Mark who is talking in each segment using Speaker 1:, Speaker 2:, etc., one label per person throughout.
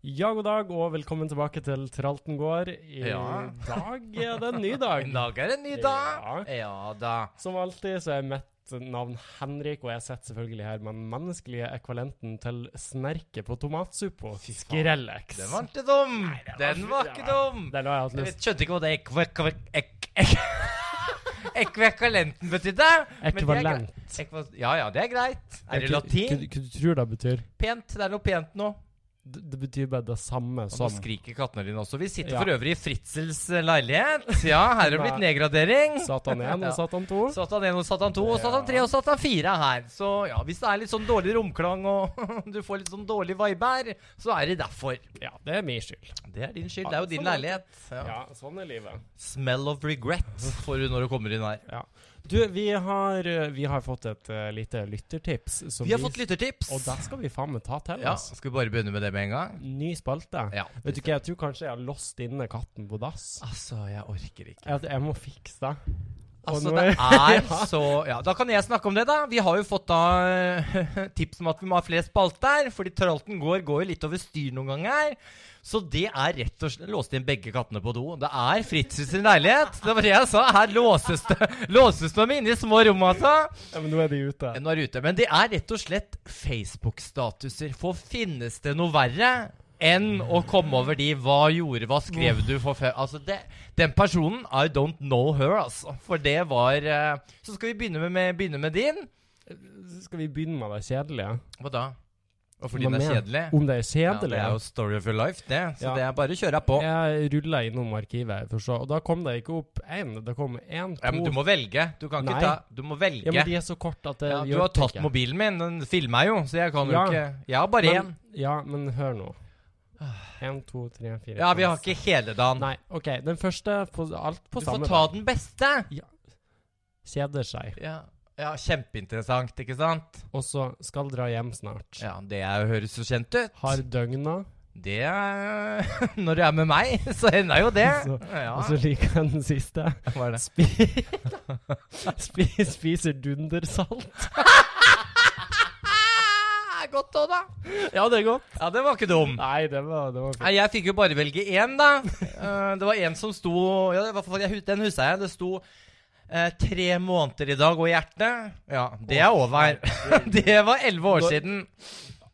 Speaker 1: Ja, god dag, og velkommen tilbake til Tralten gård. I
Speaker 2: Ja.
Speaker 1: dag er det en ny dag.
Speaker 2: En dag er en ny dag. Ja, da.
Speaker 1: Som alltid så er mitt navn Henrik, og jeg sitter selvfølgelig her med den menneskelige ekvalenten til snerket på tomatsuppa, Skrellex.
Speaker 2: Den var ikke dum. Den var ikke dum.
Speaker 1: Den har jeg hatt
Speaker 2: Jeg
Speaker 1: lyst
Speaker 2: vet- skjønte ikke hva det ekvek- ek- ek- Ekvivalenten betydde. men det er greit.
Speaker 1: Ekvalent.
Speaker 2: Ekva- Ja ja, det er greit. Er det
Speaker 1: Hva- Hva
Speaker 2: latin?
Speaker 1: hva du tror det betyr?
Speaker 2: Pent. Det er noe pent nå.
Speaker 1: Det, det betyr bare det samme
Speaker 2: Og nå
Speaker 1: som
Speaker 2: skriker kattene dine også. Vi sitter
Speaker 1: Ja.
Speaker 2: for øvrig i Fritzels eh, leilighet. Ja, her er det blitt nedgradering.
Speaker 1: Satan 1 og
Speaker 2: Ja.
Speaker 1: Satan 2.
Speaker 2: Satan 1 og Satan 2 og
Speaker 1: Ja.
Speaker 2: Satan 3 og Satan 4 er her. Så ja, hvis det er litt sånn dårlig romklang og du får litt sånn dårlig vibe her, så er det derfor.
Speaker 1: Ja, det er min skyld.
Speaker 2: Det er din skyld.
Speaker 1: Ja,
Speaker 2: Det er jo din
Speaker 1: sånn er det.
Speaker 2: leilighet. Ja.
Speaker 1: Ja, sånn er livet.
Speaker 2: Smell of regret får du når du kommer inn her.
Speaker 1: Du, vi har, vi har fått et eh, lite lyttertips. Som
Speaker 2: Vi har fått lyttertips.
Speaker 1: Og det skal vi faen meg ta til
Speaker 2: Ja,
Speaker 1: oss.
Speaker 2: skal vi bare begynne med det med en gang?
Speaker 1: Ny spalte.
Speaker 2: Ja.
Speaker 1: Vet du ikke, jeg tror kanskje jeg har låst inne katten på dass.
Speaker 2: Altså, jeg orker ikke.
Speaker 1: Jeg, jeg må fikse det. Og
Speaker 2: Altså,
Speaker 1: nå
Speaker 2: det
Speaker 1: er-
Speaker 2: er så Ja, da kan jeg snakke om det, da. Vi har jo fått da tips om at vi må ha flere spalter, fordi Tralten går, går jo litt over styr noen ganger. Så det er rett og slett Låste inn begge kattene på do. Det er Fritz sin leilighet. Det var det jeg sa. Her låses det Låses de inne i små rom, altså.
Speaker 1: Ja, men nå er de ute.
Speaker 2: Nå er det ute. Men det er rett og slett Facebook-statuser. For finnes det noe verre enn å komme over de 'hva gjorde, hva skrev du' for før? Altså, det, den personen, I don't know her, altså. For det var eh, Så skal vi begynne med, med, begynne med din.
Speaker 1: Skal vi begynne med det kjedelige?
Speaker 2: Hva da?
Speaker 1: Hva
Speaker 2: Og fordi den er
Speaker 1: med?
Speaker 2: kjedelig?
Speaker 1: Om det er
Speaker 2: Ja, det
Speaker 1: kjedelig?
Speaker 2: er jo story of your life, det. Så
Speaker 1: Ja.
Speaker 2: det er bare å kjøre på.
Speaker 1: jeg rulla innom arkivet for å se, og da kom det ikke opp én. Det kom én, to
Speaker 2: Ja, men du må velge. Du kan
Speaker 1: Nei.
Speaker 2: ikke ta Du må velge.
Speaker 1: Ja, men de er så korte at det
Speaker 2: Ja, du
Speaker 1: hjelper
Speaker 2: har tatt
Speaker 1: ikke.
Speaker 2: mobilen min. Den filmer jo, så jeg kan jo
Speaker 1: Ja.
Speaker 2: ikke Jeg har bare én. Ah.
Speaker 1: Men- Ja, men hør nå. Én, to, tre, fire
Speaker 2: Ja, vi
Speaker 1: fem,
Speaker 2: har
Speaker 1: seks.
Speaker 2: ikke hele dagen.
Speaker 1: Nei, OK. Den første på alt på
Speaker 2: Du får
Speaker 1: samme
Speaker 2: ta den beste.
Speaker 1: kjeder seg,
Speaker 2: Ja, ja kjempeinteressant, ikke sant?
Speaker 1: og så skal dra hjem snart.
Speaker 2: Ja, det er, høres så kjent ut.
Speaker 1: Har døgna.
Speaker 2: Det er, Når du er med meg, så hender jo det.
Speaker 1: Så- altså-
Speaker 2: Ja,
Speaker 1: Og så liker jeg den siste.
Speaker 2: hva er det?
Speaker 1: Spi spi spiser dundersalt.
Speaker 2: Ah, godt òg, da.
Speaker 1: Ja, det er godt.
Speaker 2: Ja, det var ikke dum.
Speaker 1: Nei, det var, det var fint.
Speaker 2: Mm. Nei, jeg fikk jo bare velge én, da. Eh, det var en som sto Ja, det var, for- jeg hu- Den huska jeg. Det sto eh, 'Tre måneder i dag og hjertet'. Ja, det er over. det var elleve år
Speaker 1: Når-
Speaker 2: siden.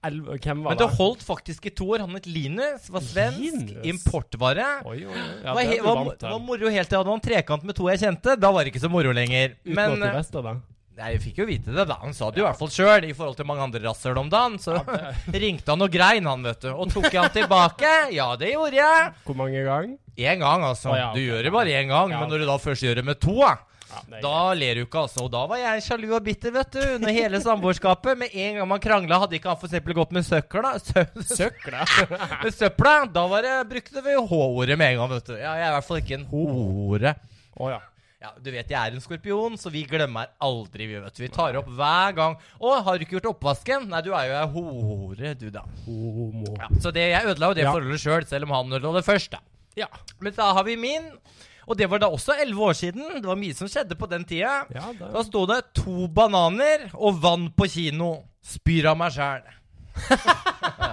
Speaker 1: Elv- Hvem var
Speaker 2: Men det holdt faktisk i to år. Han het Linus, var svensk,
Speaker 1: Linus?
Speaker 2: importvare.
Speaker 1: Oi, oi, oi. Ja,
Speaker 2: var,
Speaker 1: det
Speaker 2: he
Speaker 1: er du
Speaker 2: var,
Speaker 1: vant
Speaker 2: var
Speaker 1: til.
Speaker 2: moro helt til jeg hadde en trekant med to jeg kjente. Da var det ikke så moro lenger.
Speaker 1: Uten
Speaker 2: Men
Speaker 1: at du
Speaker 2: eh,
Speaker 1: visste det.
Speaker 2: nei, jeg fikk jo vite det, da. Han sa det jo i hvert fall sjøl, i forhold til mange andre rasshøl om dagen. Så ringte han og grein, han, vet du. Og tok jeg han tilbake? Ja, det gjorde jeg.
Speaker 1: Hvor mange ganger?
Speaker 2: Én gang, altså.
Speaker 1: Å, ja,
Speaker 2: Du
Speaker 1: ok.
Speaker 2: gjør det bare én gang.
Speaker 1: Ja.
Speaker 2: Men når du da først gjør det med to, da,
Speaker 1: Ja, det er
Speaker 2: da ler du ikke, altså. Og da var jeg sjalu og bitter, vet du. Under hele samboerskapet. Med en gang man krangla, hadde ikke han for eksempel gått med søkla sø
Speaker 1: greit. søkla.
Speaker 2: med søpla. Da var det, brukte vi H-ordet med en gang, vet du. Ja, jeg er i hvert fall ikke en hore.
Speaker 1: Å ja.
Speaker 2: Ja, du vet jeg er en skorpion, så vi glemmer aldri, vi, vet du. Vi tar opp hver gang. Å, har du ikke gjort oppvasken? Nei, du er jo ei hore, du, da.
Speaker 1: Homo.
Speaker 2: Ja, så det, jeg ødela jo det
Speaker 1: Ja.
Speaker 2: forholdet sjøl, selv om han ødela det først, da.
Speaker 1: Ja.
Speaker 2: Men da har vi min. Og det var da også elleve år siden. Det var mye som skjedde på den tida.
Speaker 1: Ja, det
Speaker 2: Da sto det to bananer og vann på kino. Spyr av meg sjæl.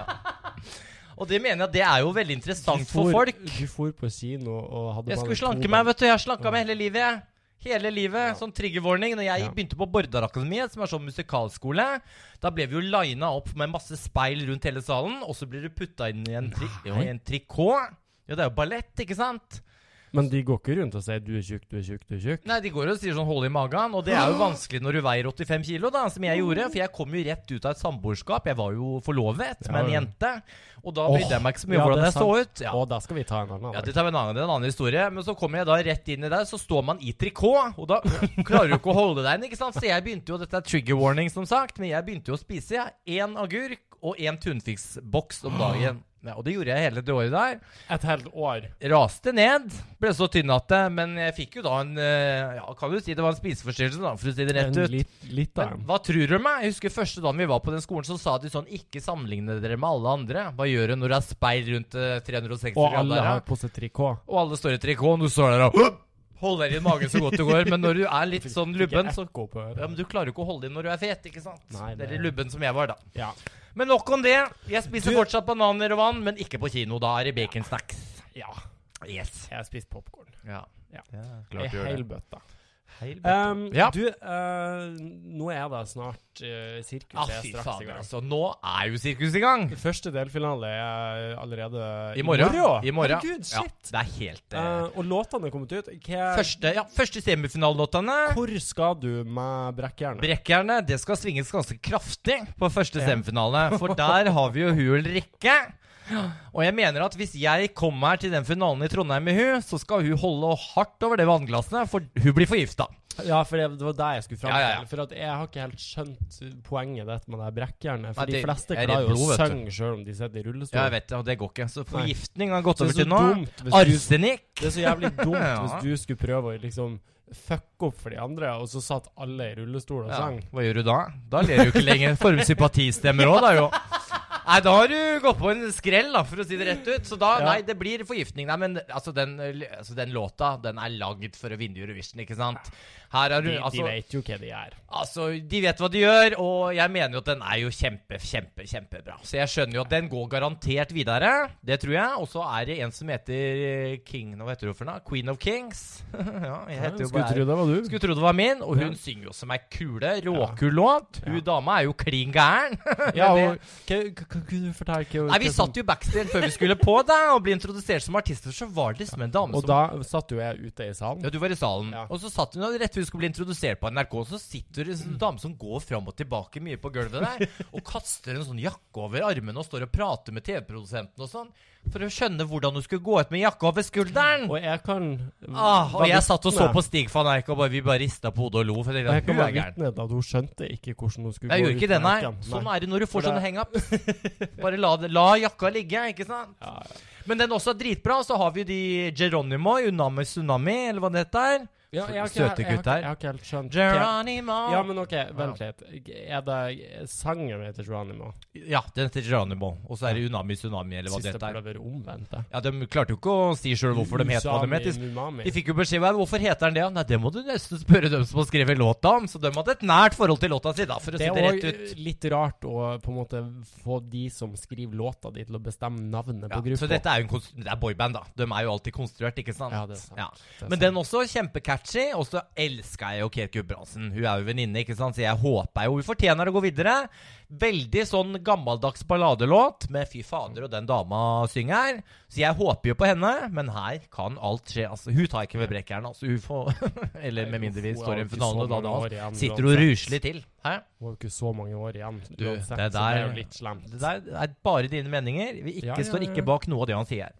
Speaker 2: Og det mener jeg at det er jo veldig interessant for folk.
Speaker 1: Du for på kino og hadde
Speaker 2: Jeg
Speaker 1: bare
Speaker 2: skulle
Speaker 1: to
Speaker 2: slanke
Speaker 1: barn.
Speaker 2: meg, vet du. Jeg har slanka meg hele livet. jeg. Hele livet. Sånn triggerwarning. Når jeg
Speaker 1: Ja.
Speaker 2: begynte på Bordarakademiet, som er sånn musikalskole, da ble vi jo lina opp med masse speil rundt hele salen, og så blir du putta inn i en, tri jo, i en trikot. Ja, det er jo ballett, ikke sant?
Speaker 1: Men de går ikke rundt og sier 'du er tjukk, du er tjukk, du er tjukk'.
Speaker 2: Nei, de går og sier sånn 'hold i magen', og det er jo vanskelig når du veier 85 kilo, da, som jeg gjorde. For jeg kom jo rett ut av et samboerskap. Jeg var jo forlovet med
Speaker 1: Ja,
Speaker 2: en
Speaker 1: ja.
Speaker 2: jente, og da
Speaker 1: Åh,
Speaker 2: brydde jeg meg ikke så mye
Speaker 1: ja,
Speaker 2: om
Speaker 1: det
Speaker 2: hvordan
Speaker 1: er
Speaker 2: jeg så ut. Ja.
Speaker 1: Og da skal vi ta en annen
Speaker 2: Ja,
Speaker 1: dag.
Speaker 2: det tar vi en annen, det er en annen historie. Men så kommer jeg da rett inn i der, så står man i trikot. Og da klarer du ikke å holde deg inn, ikke sant. Så jeg begynte jo, dette er trigger warning som sagt, men jeg begynte jo å spise jeg. én agurk og én tunfiskboks om dagen. Ja, og det gjorde jeg hele det året der.
Speaker 1: Et helt år.
Speaker 2: Raste ned, ble så tynn at det Men jeg fikk jo da en eh, Ja, kan du si det var en spiseforstyrrelse, da, for å si det rett
Speaker 1: En
Speaker 2: ut.
Speaker 1: Litt, litt av
Speaker 2: Men
Speaker 1: dem.
Speaker 2: hva tror du meg? Jeg husker første dagen vi var på den skolen, så sa de sånn Ikke sammenligne dere med alle andre. Hva gjør du når det er speil rundt eh, 360
Speaker 1: Og alle
Speaker 2: grader?
Speaker 1: har på seg trikot.
Speaker 2: Og alle står i trikot, og du står der og Holder i magen så godt du går, men når du er litt sånn lubben, så
Speaker 1: Ekko på
Speaker 2: ja, men
Speaker 1: øret.
Speaker 2: Du klarer jo ikke å holde inn når du er fet, ikke sant?
Speaker 1: Nei,
Speaker 2: det...
Speaker 1: det-
Speaker 2: Eller lubben som jeg var, da.
Speaker 1: Ja.
Speaker 2: Men nok om det. Jeg spiser
Speaker 1: Du-
Speaker 2: fortsatt bananer og vann, men ikke på kino. Da er det baconsnacks.
Speaker 1: ja.
Speaker 2: Yes.
Speaker 1: Jeg har spist popkorn.
Speaker 2: Ja.
Speaker 1: Ja.
Speaker 2: Klart
Speaker 1: Ei
Speaker 2: du gjør
Speaker 1: hel
Speaker 2: det.
Speaker 1: bøtte.
Speaker 2: Heil bøtte.
Speaker 1: Um,
Speaker 2: Ja.
Speaker 1: Du, eh, nå er det snart uh, sirkus
Speaker 2: Ja,
Speaker 1: er
Speaker 2: fy
Speaker 1: straks i
Speaker 2: fader,
Speaker 1: gang.
Speaker 2: altså. Nå er jo sirkus i gang.
Speaker 1: Første delfinale er allerede
Speaker 2: I morgen.
Speaker 1: morgen.
Speaker 2: I morgen.
Speaker 1: Herregud,
Speaker 2: Ja,
Speaker 1: shit.
Speaker 2: det er helt eh,
Speaker 1: Eh, og låtene er kommet ut. Hva,
Speaker 2: Første, ja, første semifinalelåtene.
Speaker 1: Hvor skal du med brekkjernet?
Speaker 2: Brekkjernet det skal svinges ganske kraftig på første
Speaker 1: Ja.
Speaker 2: semifinale, for der har vi jo hun Ulrikke. Og jeg mener at hvis jeg kommer her til den finalen i Trondheim med hun, så skal hun holde hardt over det vannglasset, for hun blir forgifta.
Speaker 1: Ja, for det, det var det jeg skulle fram
Speaker 2: Ja,
Speaker 1: til.
Speaker 2: ja, ja.
Speaker 1: For at jeg har ikke helt skjønt poenget dette med det her brekkjernet.
Speaker 2: Nei,
Speaker 1: For de
Speaker 2: det
Speaker 1: fleste
Speaker 2: er
Speaker 1: klarer
Speaker 2: redd
Speaker 1: jo å
Speaker 2: blod, vet du.
Speaker 1: synge sjøl om de sitter i rullestol.
Speaker 2: Ja, jeg vet det, og det går ikke. Så forgiftning har gått
Speaker 1: Så
Speaker 2: over
Speaker 1: det er
Speaker 2: til
Speaker 1: så
Speaker 2: nå.
Speaker 1: dumt hvis du,
Speaker 2: Arsenikk.
Speaker 1: Det er så jævlig dumt
Speaker 2: Ja.
Speaker 1: hvis du skulle prøve å liksom fucke opp for de andre, og så satt alle i rullestol og
Speaker 2: Ja.
Speaker 1: sang.
Speaker 2: Hva gjør du da? Da ler du ikke lenger. Får du sympatistemmer òg, da jo. Nei, da har du gått på en skrell, da, for å si det rett ut. Så da,
Speaker 1: Ja.
Speaker 2: nei, det blir forgiftning. Nei, men altså, den, altså, den låta, den er lagd for å vinne Eurovision, ikke sant? Her har du
Speaker 1: De, de
Speaker 2: altså,
Speaker 1: vet jo hva de gjør.
Speaker 2: altså De vet hva de gjør, og jeg mener jo at den er jo kjempe, kjempe, kjempebra. Så jeg skjønner jo at den går garantert videre. Det tror jeg. Og så er det en som heter eh, King Hva heter du for noe? Queen of Kings. ja, jeg
Speaker 1: Ja,
Speaker 2: heter jo
Speaker 1: Skulle
Speaker 2: bare
Speaker 1: tro det var du.
Speaker 2: skulle tro det var min, og hun
Speaker 1: Ja.
Speaker 2: synger jo som ei kule. Råkul låt. Hun dama er jo klin gæren.
Speaker 1: Ja,
Speaker 2: Men
Speaker 1: og, hva, hva, hva kunne du fortelle hva,
Speaker 2: Nei, Vi
Speaker 1: hva som-
Speaker 2: satt jo backstage før vi skulle på da og ble introdusert som artister, så var det liksom en dame
Speaker 1: Og
Speaker 2: som
Speaker 1: da satt jo jeg ute i salen.
Speaker 2: ja, du var i salen.
Speaker 1: Ja.
Speaker 2: Og så satt hun og rett før vi skulle bli introdusert på NRK, så sitter det en
Speaker 1: Mm.
Speaker 2: sånn dame som går fram og tilbake mye på gulvet der, og kaster en sånn jakke over armene og står og prater med TV-produsenten og sånn, for å skjønne hvordan hun skulle gå ut med jakka over skulderen.
Speaker 1: Og jeg kan
Speaker 2: Ah, og
Speaker 1: var
Speaker 2: jeg satt og så
Speaker 1: vitne.
Speaker 2: på Stig van Eijk, og bare, vi bare rista på hodet og lo. For det,
Speaker 1: Og jeg kan
Speaker 2: hun
Speaker 1: være
Speaker 2: er gæren.
Speaker 1: vitne til at hun skjønte ikke hvordan hun skulle gå
Speaker 2: Jeg gjorde ikke
Speaker 1: ut med
Speaker 2: det, nei.
Speaker 1: jakken.
Speaker 2: Sånn er det når du
Speaker 1: For
Speaker 2: får sånne
Speaker 1: det-
Speaker 2: hangup. Bare la, det, la jakka ligge, ikke sant?
Speaker 1: Ja,
Speaker 2: Men den også er dritbra. Så har vi jo de Geronimo, Unami Tsunami, eller hva det heter.
Speaker 1: Ja, jeg har ikke-
Speaker 2: Søte
Speaker 1: jeg har
Speaker 2: gutt her.
Speaker 1: ikke- Jeg har ikke helt skjønt hva-
Speaker 2: Geronimo.
Speaker 1: Ja, men OK, vent litt. Er det sangen heter Geronimo?
Speaker 2: Ja, den heter Geronimo. Og så er det Unami Tsunami, eller hva
Speaker 1: Syns
Speaker 2: det
Speaker 1: det burde
Speaker 2: heter.
Speaker 1: være omvendt, det.
Speaker 2: Ja, De klarte jo ikke å si sjøl hvorfor de het hva de het. De- De fikk jo beskjed om hvorfor heter den det. Nei, det må du nesten spørre dem som har skrevet låta om. Så de hadde et nært forhold til låta si, da, for å
Speaker 1: Det
Speaker 2: si
Speaker 1: er
Speaker 2: det rett ut.
Speaker 1: òg litt rart å på en måte få de som skriver låta di, til å bestemme navnet
Speaker 2: Ja,
Speaker 1: på gruppa.
Speaker 2: så dette er jo en konst- det er boyband, da. De er jo alltid konstruert, ikke sant?
Speaker 1: Ja, det er sant. Det er sånn,
Speaker 2: Men
Speaker 1: sant.
Speaker 2: den også, kjempecatchy. Og så elska jeg jo Kate Gudbrandsen. Hun er jo venninne, ikke sant, så jeg håper jo hun fortjener å gå videre. Veldig sånn gammeldags balladelåt med fy fader og den dama synger. Så jeg håper jo på henne, men her kan alt skje. Altså, hun tar ikke med brekkjernet, altså. Hun får Eller med mindre vi
Speaker 1: Hun har
Speaker 2: står i en
Speaker 1: ikke
Speaker 2: finale,
Speaker 1: så
Speaker 2: da,
Speaker 1: mange
Speaker 2: da
Speaker 1: år igjen
Speaker 2: sitter hun
Speaker 1: uansett.
Speaker 2: ruselig til.
Speaker 1: Hun
Speaker 2: Hæ?
Speaker 1: har jo ikke så mange år igjen.
Speaker 2: Du,
Speaker 1: uansett,
Speaker 2: det
Speaker 1: så det er
Speaker 2: der-
Speaker 1: jo litt slemt.
Speaker 2: Det der er bare dine meninger. Vi ikke,
Speaker 1: Ja, ja,
Speaker 2: står
Speaker 1: ja.
Speaker 2: ikke bak noe av det han sier.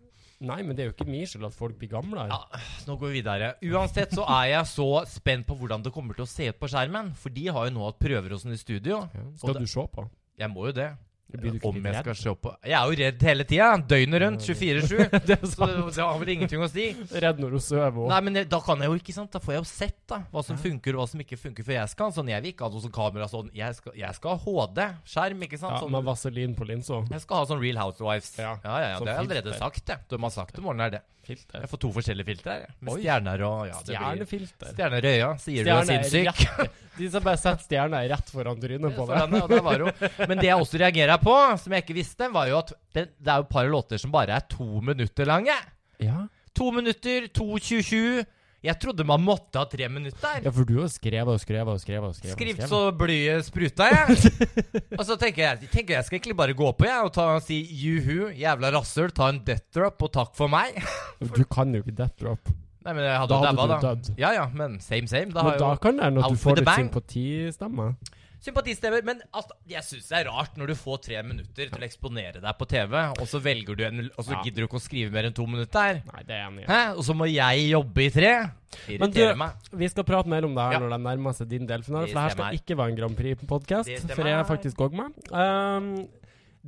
Speaker 1: Nei, men det er jo ikke min skyld at folk blir gamle.
Speaker 2: Ja, nå går vi videre. Uansett så er jeg så spent på hvordan det kommer til å se ut på skjermen. For de har jo nå hatt prøver hos den i studio.
Speaker 1: Skal
Speaker 2: det-
Speaker 1: du se på?
Speaker 2: Jeg må jo det.
Speaker 1: Blir du ikke
Speaker 2: Om jeg
Speaker 1: litt
Speaker 2: skal se på Jeg er jo redd hele tida. Døgnet rundt. 24-7.
Speaker 1: Det er
Speaker 2: Så
Speaker 1: sant.
Speaker 2: det det har vel ingenting å si.
Speaker 1: Redd når hun sover òg.
Speaker 2: Nei, men jeg- da kan jeg jo ikke, sant. Da får jeg jo sett da hva som funker og hva som ikke funker. For jeg skal sånn, jeg vil ikke ha noe sånn kamera sånn. Jeg skal, jeg skal ha HD-skjerm, ikke sant.
Speaker 1: Ja,
Speaker 2: Sånn,
Speaker 1: med vaselin på linsa.
Speaker 2: jeg skal ha sånn Real Housewives. Ja,
Speaker 1: Ja,
Speaker 2: ja, ja.
Speaker 1: sånn
Speaker 2: det har jeg
Speaker 1: filter.
Speaker 2: allerede sagt, det. De har sagt det. Morgen er det.
Speaker 1: Filter.
Speaker 2: Jeg får to forskjellige filtre. jeg. Med
Speaker 1: Oi.
Speaker 2: stjerner og ja, det blir-
Speaker 1: Stjernefilter.
Speaker 2: Stjerner i øya, sier du er sinnssyk.
Speaker 1: rett. De som bare setter stjerna rett foran trynet på
Speaker 2: For
Speaker 1: deg.
Speaker 2: henne, og det sånn var jo. Men det jeg også reagerer på, som jeg ikke visste, var jo at det, det er jo et par låter som bare er to minutter lange.
Speaker 1: Ja.
Speaker 2: To minutter, 2.27. Jeg trodde man måtte ha tre minutter.
Speaker 1: ja, for du har skrevet og skrevet og skrevet. og skrevet, og
Speaker 2: Skriv
Speaker 1: skrevet.
Speaker 2: så bløye spruta, jeg. Og så tenker jeg tenker jeg skal egentlig bare gå på jeg, og ta, si juhu, jævla rasshøl, ta en death drop og takk for meg.
Speaker 1: Du kan jo ikke death drop.
Speaker 2: Nei, men jeg hadde
Speaker 1: Da
Speaker 2: jo
Speaker 1: hadde
Speaker 2: dabba,
Speaker 1: du
Speaker 2: da.
Speaker 1: dødd.
Speaker 2: Ja ja, men same same. Da har
Speaker 1: Men
Speaker 2: jo
Speaker 1: da kan det hende at
Speaker 2: Out
Speaker 1: du
Speaker 2: with
Speaker 1: får
Speaker 2: a
Speaker 1: litt
Speaker 2: bang.
Speaker 1: sympatistemme.
Speaker 2: Sympatistemmer, men altså, jeg syns det er rart når du får tre minutter til å eksponere deg på TV, og så velger du en Og så
Speaker 1: Ja.
Speaker 2: gidder du ikke å skrive mer enn to minutter.
Speaker 1: Nei, det er jeg enig i.
Speaker 2: Hæ? Og så må jeg jobbe i tre?
Speaker 1: Men du,
Speaker 2: Irriterer meg.
Speaker 1: vi skal prate mer om det her
Speaker 2: Ja.
Speaker 1: når det nærmer seg din delfinale,
Speaker 2: Det
Speaker 1: for det her skal
Speaker 2: stemmer.
Speaker 1: ikke være en Grand Prix-podkast,
Speaker 2: Det
Speaker 1: for jeg er
Speaker 2: stemmer.
Speaker 1: faktisk òg med. Um,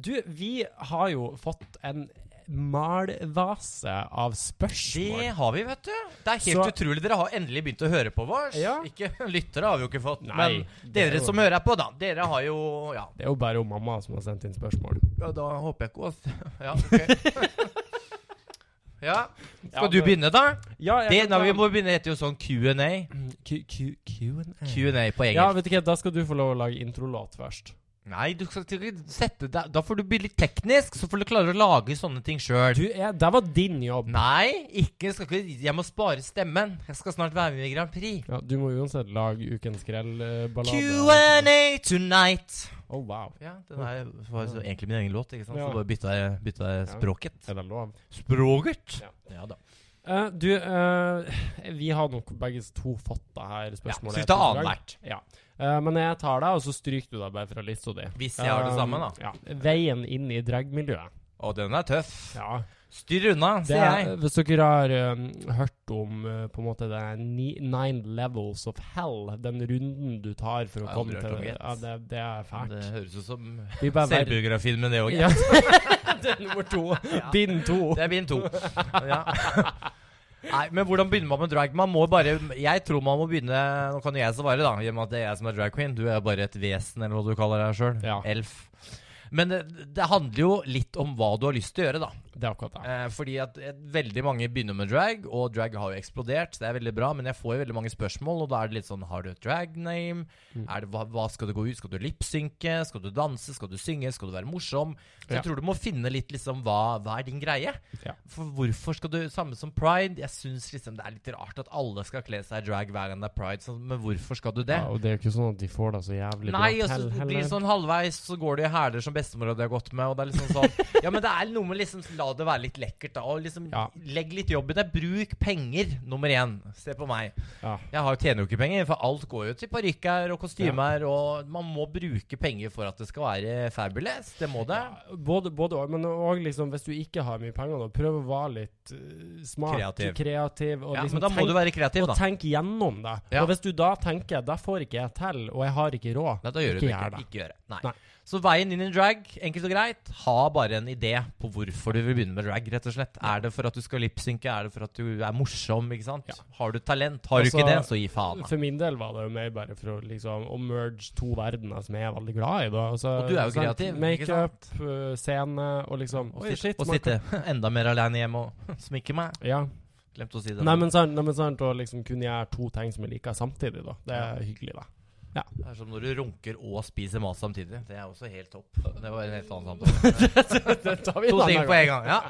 Speaker 1: du, vi har jo fått en malvase av
Speaker 2: Det
Speaker 1: spørsmål.
Speaker 2: har vi, vet du. Det er helt
Speaker 1: Så-
Speaker 2: utrolig. Dere har endelig begynt å høre på vårs.
Speaker 1: Ja.
Speaker 2: Ikke lyttere har vi jo ikke fått,
Speaker 1: Nei,
Speaker 2: men
Speaker 1: det er
Speaker 2: dere
Speaker 1: jo-
Speaker 2: som hører på, da. Dere har jo Ja,
Speaker 1: Det er jo bare hun mamma som har sendt inn spørsmål.
Speaker 2: ja da håper jeg ikke at Ja, ok. ja. Skal
Speaker 1: Ja,
Speaker 2: du
Speaker 1: men-
Speaker 2: begynne, da?
Speaker 1: Ja, jeg
Speaker 2: Det,
Speaker 1: kan
Speaker 2: da,
Speaker 1: ta-
Speaker 2: vi må begynne etter jo sånn Q&A.
Speaker 1: Q- Q- Q&A.
Speaker 2: Q&A på
Speaker 1: Ja,
Speaker 2: engelsk.
Speaker 1: vet ikke, da skal du få lov å lage introlåt først.
Speaker 2: Nei, du skal ikke sette deg Da får du bli litt teknisk, så får du klare å lage sånne ting sjøl.
Speaker 1: Du, jeg, det var din jobb.
Speaker 2: Nei, ikke, skal ikke Jeg må spare stemmen. Jeg skal snart være med i Grand Prix.
Speaker 1: Ja, du må uansett lage Ukens grell-ballade.
Speaker 2: Q&A tonight.
Speaker 1: Oh, wow.
Speaker 2: Ja, den er, var jo egentlig min egen låt, ikke sant?
Speaker 1: Ja.
Speaker 2: Så bare bytta jeg, bytta jeg
Speaker 1: Ja.
Speaker 2: språket.
Speaker 1: Er det lov?
Speaker 2: Språket?
Speaker 1: Ja.
Speaker 2: Ja, da.
Speaker 1: Eh, du, eh, vi har nok begge to fått det her
Speaker 2: Ja, så
Speaker 1: spørsmålet. etter
Speaker 2: vi tar
Speaker 1: i dag.
Speaker 2: annenhvert.
Speaker 1: Ja. Eh, men jeg tar deg, og så stryker du deg bare fra lista di.
Speaker 2: Hvis jeg har det
Speaker 1: Eh,
Speaker 2: samme, da.
Speaker 1: Ja. Veien inn i dragmiljøet.
Speaker 2: Å, den er tøff.
Speaker 1: Ja.
Speaker 2: Styr unna,
Speaker 1: Det,
Speaker 2: sier jeg.
Speaker 1: hvis dere har eh, hørt om eh, på en måte det ni, Nine Levels of Hell, den runden du tar for å
Speaker 2: Jeg har
Speaker 1: komme
Speaker 2: aldri hørt
Speaker 1: til
Speaker 2: om det.
Speaker 1: ja, det, det er fælt.
Speaker 2: Det høres ut som
Speaker 1: Vi bare verre-
Speaker 2: selvbiografien med det òg.
Speaker 1: Ja. det er nummer to. Bind to.
Speaker 2: Det er bind to. Ja. Nei, men hvordan begynner man med drag? Man må bare Jeg tror man må begynne Nå kan jo jeg svare, da, i og med at det er jeg som er drag queen. Du er bare et vesen, eller hva du kaller deg sjøl.
Speaker 1: Ja.
Speaker 2: Elf. Men det, det handler jo litt om hva du har lyst til å gjøre, da.
Speaker 1: Det er akkurat det.
Speaker 2: Eh, fordi at eh, veldig mange begynner med drag, og drag har jo eksplodert. Det er veldig bra, men jeg får jo veldig mange spørsmål, og da er det litt sånn Har du et drag name?
Speaker 1: Mm.
Speaker 2: Er det, hva, hva skal du gå ut? Skal du lipsynke? Skal du danse? Skal du synge? Skal du være morsom? Så
Speaker 1: Ja.
Speaker 2: jeg tror du må finne litt liksom hva, hva er din greie?
Speaker 1: Ja.
Speaker 2: For hvorfor skal du Samme som pride. Jeg syns liksom det er litt rart at alle skal kle seg i drag hver gang det er pride, sånn, men hvorfor skal du det?
Speaker 1: Ja, og det er jo ikke sånn at de får det så jævlig
Speaker 2: Nei,
Speaker 1: bra
Speaker 2: og så
Speaker 1: til
Speaker 2: blir det sånn halvveis, så går det i hæler som bestemora di har gått med, og det er liksom sånn Ja, men det er noe med liksom La det være litt lekkert, da, og liksom
Speaker 1: Ja.
Speaker 2: Legg litt jobb i det. Bruk penger, nummer én. Se på meg.
Speaker 1: Ja.
Speaker 2: Jeg har, tjener jo ikke penger, for alt går jo til parykker og kostymer, og man må bruke penger for at det skal være fabulous. Det må det.
Speaker 1: Ja, både, både og, men òg liksom, hvis du ikke har mye penger, da, prøv å være litt eh, smart,
Speaker 2: Kreativ.
Speaker 1: kreativ. og
Speaker 2: Ja,
Speaker 1: liksom
Speaker 2: men da må
Speaker 1: tenk,
Speaker 2: du være kreativ,
Speaker 1: og
Speaker 2: da.
Speaker 1: tenk gjennom det.
Speaker 2: Ja.
Speaker 1: Og hvis du da tenker 'det får ikke jeg til, og jeg har ikke råd',
Speaker 2: Nei, da gjør
Speaker 1: Ikke
Speaker 2: du det
Speaker 1: gjør
Speaker 2: ikke.
Speaker 1: det.
Speaker 2: Ikke gjør det. Nei.
Speaker 1: Nei.
Speaker 2: Så veien inn i drag, enkelt og greit, ha bare en idé på hvorfor du vil begynne med drag, rett og slett. Er det for at du skal lipsynke? Er det for at du er morsom, ikke sant?
Speaker 1: Ja.
Speaker 2: Har du talent? Har
Speaker 1: Altså,
Speaker 2: du ikke det, så gi faen. da.
Speaker 1: For min del var det jo mer bare for å liksom å merge to verdener som jeg er veldig glad i. Da. Altså,
Speaker 2: Og du er jo
Speaker 1: sant?
Speaker 2: kreativ, ikke
Speaker 1: Makeup, eh, scene og liksom
Speaker 2: Og,
Speaker 1: Oi,
Speaker 2: sitte,
Speaker 1: shit.
Speaker 2: og
Speaker 1: man kan-
Speaker 2: sitte enda mer alene hjemme og sminke meg.
Speaker 1: Ja.
Speaker 2: Glemte å si det.
Speaker 1: Nei, men sant, nei, men sant å liksom kunne gjøre to ting som jeg liker samtidig, da. Det er hyggelig, da.
Speaker 2: Det er som når du runker og spiser mat samtidig. Det er også helt topp. Det var en helt annen samtale.
Speaker 1: det tar vi
Speaker 2: To
Speaker 1: en
Speaker 2: ting
Speaker 1: annen
Speaker 2: på en gang. Ja.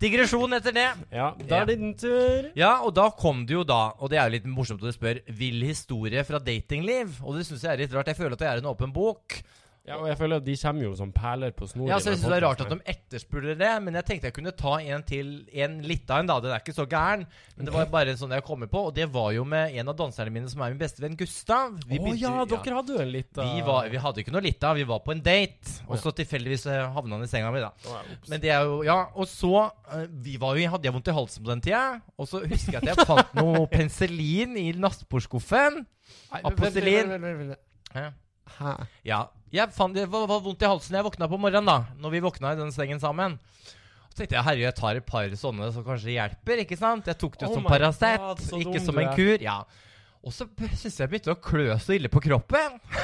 Speaker 2: Digresjon etter det.
Speaker 1: Ja, da
Speaker 2: Ja.
Speaker 1: er det din tur.
Speaker 2: Ja, og da kom det jo da, og det er jo litt morsomt at du spør, vil historie fra datingliv? Og det syns jeg er litt rart. Jeg føler at jeg er en åpen bok.
Speaker 1: Ja, og jeg føler at de kommer jo som perler på snor.
Speaker 2: Ja,
Speaker 1: i
Speaker 2: så jeg
Speaker 1: den
Speaker 2: synes det er rart at
Speaker 1: podcasten
Speaker 2: de etterspurte det, men jeg tenkte jeg kunne ta en til, en litt av en, da. Den er ikke så gæren, men det var bare en sånn jeg kom på, og det var jo med en av danserne mine som er min beste venn, Gustav.
Speaker 1: her. Å
Speaker 2: begynte-
Speaker 1: ja,
Speaker 2: ja.
Speaker 1: dere hadde jo en liten
Speaker 2: Vi, var, vi hadde ikke noe litt av, vi var på en date, og så tilfeldigvis eh, havna han i senga mi, da. Men det er jo, ja, og så eh, vi var jo, Hadde jeg vondt i halsen på den tida? Og så husker jeg at jeg fant noe penicillin i nattbordskuffen. apostelin. Hæ?
Speaker 1: Hæ?
Speaker 2: Ja, jeg fant, det var, var vondt i halsen da jeg våkna på morgenen, da. Når vi våkna i den sengen sammen. Så tenkte jeg herregud, jeg tar et par sånne som kanskje hjelper. ikke sant? Jeg tok det jo
Speaker 1: Oh
Speaker 2: som
Speaker 1: my
Speaker 2: Paracet,
Speaker 1: God, så
Speaker 2: ikke
Speaker 1: dum
Speaker 2: som
Speaker 1: du
Speaker 2: en
Speaker 1: er.
Speaker 2: kur. ja. Og så syntes jeg begynte å klø så ille på kroppen.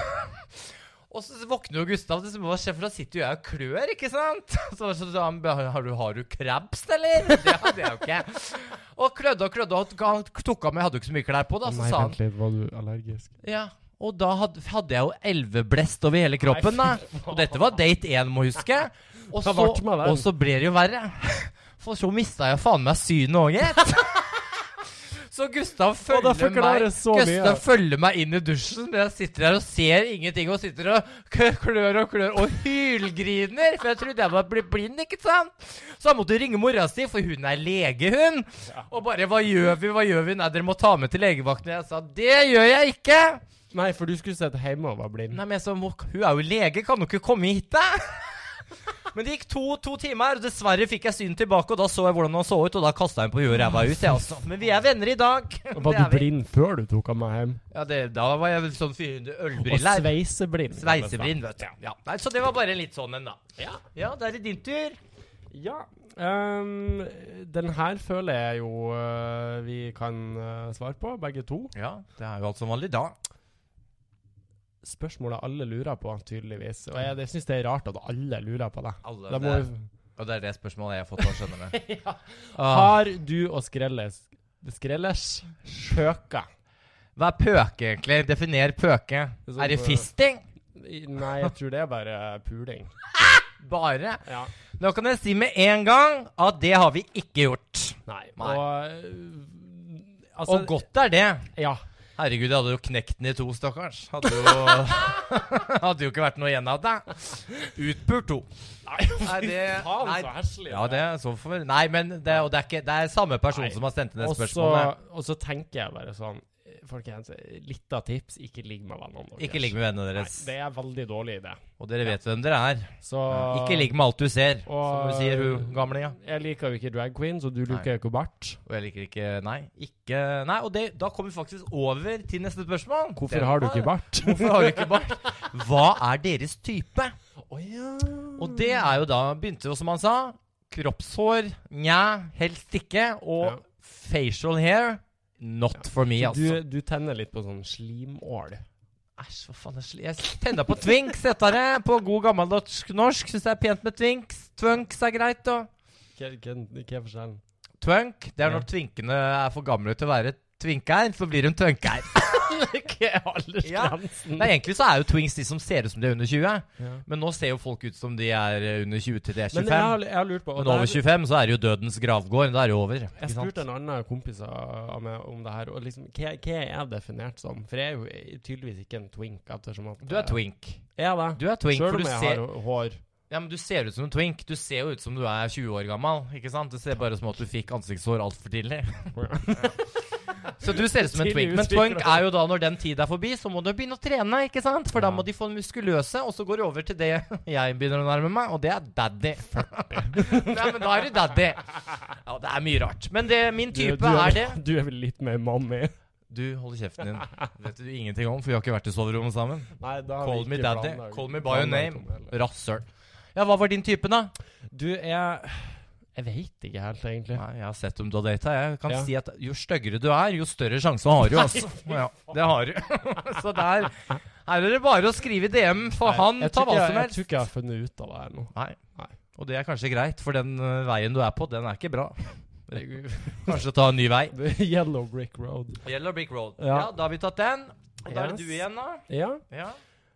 Speaker 2: og så våkner jo Gustav, og så bare, «Sjef, for da sitter jo jeg og klør, ikke sant? Så, sånn, så, så han bare, har du, har du krabs, eller? Det hadde jeg jo ikke. Og klødde og klødde, og han tok av meg, jeg hadde jo ikke så mye klær på, da. Så
Speaker 1: Nei,
Speaker 2: sa han
Speaker 1: vent litt, var du allergisk?
Speaker 2: ja, og da hadde, hadde jeg jo elveblest over hele kroppen. da Og dette var date én, må huske. Og
Speaker 1: Ta
Speaker 2: så,
Speaker 1: vart med den.
Speaker 2: og så ble det jo verre. For så mista jeg faen meg synet òg, gitt. Så Gustav
Speaker 1: Og det
Speaker 2: følger meg
Speaker 1: forklarer så mye.
Speaker 2: Gustav følger meg inn i dusjen, men jeg sitter der og ser ingenting. Og sitter og kø- klør og klør og hylgriner, for jeg trodde jeg var blitt blind, ikke sant? Så han måtte ringe mora si, for hun er lege, hun. Og bare 'Hva gjør vi? Hva gjør vi?' Nei, dere må ta med til legevakten. Jeg sa 'Det gjør jeg ikke'.
Speaker 1: Nei, for du skulle sett hjemme og var blind.
Speaker 2: Nei, men jeg sa, «Må- hun er jo lege, kan hun ikke komme hit, da? Men det gikk to, to timer, og dessverre fikk jeg synet tilbake, og da så jeg hvordan han så ut, og da kasta jeg på huet og ræva ut, jeg også. Men vi er venner i dag. Det
Speaker 1: Var
Speaker 2: er
Speaker 1: du
Speaker 2: vi.
Speaker 1: blind før du tok av meg hjem?
Speaker 2: Ja, det, da var jeg vel sånn 400
Speaker 1: Og
Speaker 2: ølbriller.
Speaker 1: sveiseblind.
Speaker 2: Sveiseblind, vet du. Ja. Nei, så det var bare litt sånn en, da.
Speaker 1: Ja.
Speaker 2: Ja, da er det din tur.
Speaker 1: Ja. ehm, den her føler jeg jo øh, vi kan øh, svare på, begge to.
Speaker 2: Ja, det er jo alt som vanlig da.
Speaker 1: Spørsmålet alle lurer på, tydeligvis. Og jeg, jeg syns det er rart at alle lurer på det.
Speaker 2: Alle,
Speaker 1: Da må
Speaker 2: det,
Speaker 1: jo- Ah.
Speaker 2: og det er det spørsmålet jeg har fått å skjønne med.
Speaker 1: Har du og Skrelles Skrellers. Pøka.
Speaker 2: Hva er pøke, egentlig? Definer pøke.
Speaker 1: Det er
Speaker 2: Er
Speaker 1: sånn
Speaker 2: det
Speaker 1: på-
Speaker 2: fisting?
Speaker 1: I- Nei, jeg tror det er bare puling.
Speaker 2: Bare?
Speaker 1: Ja.
Speaker 2: Da kan jeg si med en gang at det har vi ikke gjort.
Speaker 1: Nei.
Speaker 2: Nei.
Speaker 1: Og øh, altså,
Speaker 2: Og godt er det.
Speaker 1: Ja.
Speaker 2: Herregud, jeg hadde jo knekt den i to, stakkars. Hadde jo, hadde jo ikke vært noe igjen av deg. Utpult to.
Speaker 1: Nei, fy
Speaker 2: det-
Speaker 1: faen,
Speaker 2: nei.
Speaker 1: så heslig.
Speaker 2: Ja, det er så for... Nei, men det, og det, er ikke, det er samme person
Speaker 1: Nei.
Speaker 2: som har sendt inn det
Speaker 1: og så,
Speaker 2: spørsmålet.
Speaker 1: og så tenker jeg bare sånn eh, Folkens, litt av tips, ikke ligg med vennene deres.
Speaker 2: Ikke ligg med vennene
Speaker 1: Nei,
Speaker 2: deres.
Speaker 1: det er veldig dårlig idé.
Speaker 2: Og dere vet hvem dere er.
Speaker 1: Så
Speaker 2: Ikke ligg med alt du ser, som
Speaker 1: Og-
Speaker 2: hun sier, hun gamlinga.
Speaker 1: Jeg liker jo ikke drag queens, og du liker jo ikke bart.
Speaker 2: Og jeg liker ikke Nei. Ikke Nei, og det, da kommer vi faktisk over til neste spørsmål.
Speaker 1: Hvorfor
Speaker 2: Den
Speaker 1: har du
Speaker 2: var-
Speaker 1: ikke bart?
Speaker 2: Hvorfor har du ikke bart? Hva er deres type?
Speaker 1: Å ja.
Speaker 2: Og det er jo da Begynte jo, som han sa, kroppshår. Nja, helst ikke. Og
Speaker 1: Ja.
Speaker 2: facial hair. Not for me,
Speaker 1: du,
Speaker 2: altså.
Speaker 1: du tenner litt på sånn slimål.
Speaker 2: Æsj, hva faen er sli... Jeg tenna på twinks etter det. På god gammelnorsk norsk. Syns det er pent med twinks. Twunks er greit, og
Speaker 1: Hva hva- hva er forskjellen?
Speaker 2: Twunk, det er
Speaker 1: Ja.
Speaker 2: når twinkene er for gamle til å være twinkeir, så blir hun twunkeir.
Speaker 1: Hva er aldersgrensen?
Speaker 2: Nei, egentlig så er jo twinks de som ser ut som de er under 20,
Speaker 1: Ja.
Speaker 2: men nå ser jo folk ut som de er eh, under 20 til de er 25.
Speaker 1: Men jeg har, jeg har lurt på og
Speaker 2: Men
Speaker 1: der-
Speaker 2: over 25 så er det jo dødens gravgård. Da er det jo over. ikke
Speaker 1: Jeg
Speaker 2: sant?
Speaker 1: spurte en annen kompis av av meg om det her, og liksom, hva, hva er jeg definert som? For jeg er jo eh, tydeligvis ikke en twink. Ettersom at,
Speaker 2: Du er twink.
Speaker 1: Er jeg det?
Speaker 2: Du er twink,
Speaker 1: Selv
Speaker 2: for
Speaker 1: om
Speaker 2: du
Speaker 1: jeg
Speaker 2: ser,
Speaker 1: har hår.
Speaker 2: ja, men du ser ut som en twink. Du ser jo ut som du er 20 år gammel. ikke sant? Det ser bare ut som at du fikk ansiktshår altfor tidlig. Så du ser ut som en
Speaker 1: Tidlig
Speaker 2: twink. Men
Speaker 1: utviklet.
Speaker 2: twink er jo da, når den tid er forbi, så må du begynne å trene. ikke sant? For da må de få muskuløse, og så går det over til det jeg begynner å nærme meg, og det er daddy. Nei, men da er du daddy. Ja, det er mye rart. Men det, min
Speaker 1: Du-
Speaker 2: type
Speaker 1: du
Speaker 2: er det.
Speaker 1: Du er vel litt mer mommy?
Speaker 2: Du, hold kjeften din. Det vet du ingenting om, for vi har ikke vært i soverommet sammen.
Speaker 1: Nei, da har vi
Speaker 2: Call me
Speaker 1: ikke
Speaker 2: daddy.
Speaker 1: planlagt-
Speaker 2: Call me by your
Speaker 1: planlagt
Speaker 2: name.
Speaker 1: om det, eller?
Speaker 2: Rasshøl. Ja, hva var din type, da?
Speaker 1: Du, jeg Jeg veit ikke helt, egentlig.
Speaker 2: Nei, jeg har sett om du har data. Jeg kan
Speaker 1: Ja.
Speaker 2: si at jo styggere du er, jo større sjanse har du, altså. Ja, det har du. Så der her er det bare å skrive i DM, for
Speaker 1: Nei,
Speaker 2: han
Speaker 1: jeg tror
Speaker 2: tar hva
Speaker 1: ikke jeg- Jeg
Speaker 2: som
Speaker 1: tror
Speaker 2: helst.
Speaker 1: ikke jeg har funnet ut av det her nå.
Speaker 2: Nei.
Speaker 1: Nei.
Speaker 2: Og det er kanskje greit, for den øh, veien du er på, den er ikke bra. Kanskje ta en ny vei.
Speaker 1: Det er Yellow Brick Road.
Speaker 2: Yellow Brick Road.
Speaker 1: Ja.
Speaker 2: Ja, da har vi tatt den. Og da er det
Speaker 1: Yes.
Speaker 2: du igjen, da.
Speaker 1: Ja.
Speaker 2: Ja.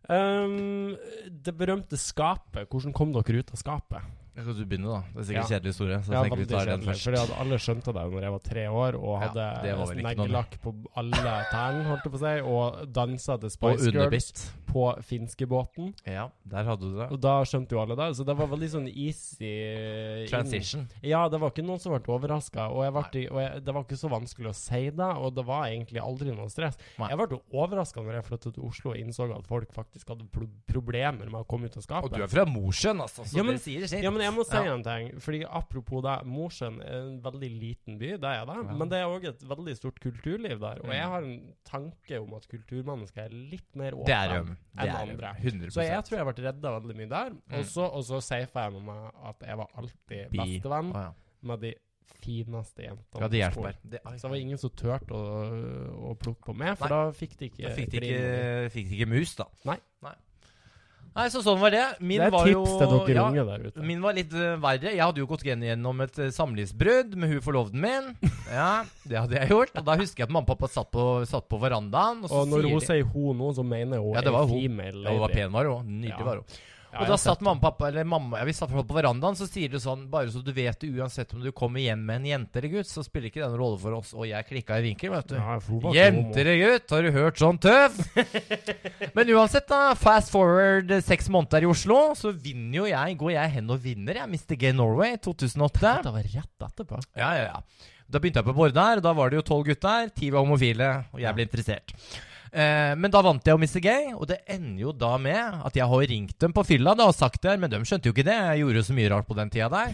Speaker 1: Ehm, det berømte skapet. Hvordan kom dere ut av skapet?
Speaker 2: Da kan du begynne, da. Det
Speaker 1: sikkert
Speaker 2: er sikkert kjedelig historie. Så
Speaker 1: Ja,
Speaker 2: jeg tenker
Speaker 1: veldig
Speaker 2: vi tar den
Speaker 1: kjedelig,
Speaker 2: først.
Speaker 1: fordi at alle skjønte det når jeg var tre år og
Speaker 2: Ja,
Speaker 1: hadde
Speaker 2: det var vel ikke noe
Speaker 1: neglelakk på alle tærne, holdt jeg på å si, og dansa til
Speaker 2: Og
Speaker 1: Spice Girls
Speaker 2: underbitt.
Speaker 1: på finskebåten.
Speaker 2: Ja, der hadde du det.
Speaker 1: Og da skjønte jo alle det, så det var veldig sånn easy inn.
Speaker 2: Transition.
Speaker 1: Ja, det var ikke noen som ble overraska, og, jeg ble, og jeg, det var ikke så vanskelig å si det, og det var egentlig aldri noe stress.
Speaker 2: Nei.
Speaker 1: Jeg ble overraska når jeg flyttet til Oslo og innså at folk faktisk hadde pro problemer med å komme ut av skapet.
Speaker 2: Og du er fra Mosjøen, altså. Så
Speaker 1: Ja, men-
Speaker 2: det sier sitt.
Speaker 1: Ja, men jeg må si
Speaker 2: Ja.
Speaker 1: en ting. Fordi Apropos det, Mosjøen er en veldig liten by, det er det.
Speaker 2: Ja.
Speaker 1: Men det er òg et veldig stort kulturliv der. Og
Speaker 2: Mm.
Speaker 1: jeg har en tanke om at kulturmennesker er litt mer
Speaker 2: Det er
Speaker 1: åpne
Speaker 2: hun.
Speaker 1: enn
Speaker 2: Det er hun.
Speaker 1: andre.
Speaker 2: 100
Speaker 1: Så jeg tror jeg ble redda veldig mye der.
Speaker 2: Mm.
Speaker 1: Og så- Og så safa jeg med meg at jeg var alltid
Speaker 2: Bi- Å,
Speaker 1: bestevenn
Speaker 2: ja.
Speaker 1: med de fineste jentene.
Speaker 2: ja, Mm. det
Speaker 1: på
Speaker 2: hjelper.
Speaker 1: skolen.
Speaker 2: Det, ai,
Speaker 1: Så det var ingen som turte å, å plukke på meg, for
Speaker 2: Nei.
Speaker 1: da fikk de ikke
Speaker 2: da fikk de
Speaker 1: bli med.
Speaker 2: ikke, fikk de ikke mus, da.
Speaker 1: eh, Nei.
Speaker 2: Nei. Nei, så sånn var det. Min
Speaker 1: Det er
Speaker 2: var
Speaker 1: tips
Speaker 2: jo,
Speaker 1: til dere
Speaker 2: ja,
Speaker 1: unge der ute.
Speaker 2: Min var litt eh, verre. Jeg hadde jo gått gen- gjennom et eh, samlivsbrudd med hun forloveden min. Ja, det hadde jeg gjort. Og da husker jeg at mamma og pappa satt på, satt på verandaen. Og, så
Speaker 1: Og når
Speaker 2: sier
Speaker 1: hun
Speaker 2: de-
Speaker 1: sier hun nå, så mener hun
Speaker 2: Ja, det
Speaker 1: en
Speaker 2: var hun.
Speaker 1: female
Speaker 2: Ja, hun var
Speaker 1: lady.
Speaker 2: pen, var hun. Nydelig
Speaker 1: Ja.
Speaker 2: var hun.
Speaker 1: Ja,
Speaker 2: og
Speaker 1: jeg
Speaker 2: da
Speaker 1: har
Speaker 2: satt
Speaker 1: sett
Speaker 2: mamma og pappa Eller mamma ja, Vi satt på verandaen, så sier de sånn Bare så du vet det, uansett om du kommer hjem med en jente eller gutt, så spiller ikke det noen rolle for oss. Og jeg klikka i vinkel, vet du.
Speaker 1: Ja, for hun var ikke homo.
Speaker 2: Jenter og gutt, har du hørt sånn tøv? Men uansett, da. Fast forward eh, seks måneder i Oslo, så vinner jo jeg. Går jeg hen og vinner, jeg. Mr. Gay Norway 2008.
Speaker 1: Det var rett etterpå.
Speaker 2: Ja, ja, ja. Da begynte jeg på Bård der, og da var det jo tolv gutter. Ti var homofile, og jeg ble interessert. Eh, men da vant jeg jo Mr. Gay, og det ender jo da med at jeg har ringt dem på fylla da og sagt det, men de skjønte jo ikke det. Jeg gjorde jo så mye rart på den tida der.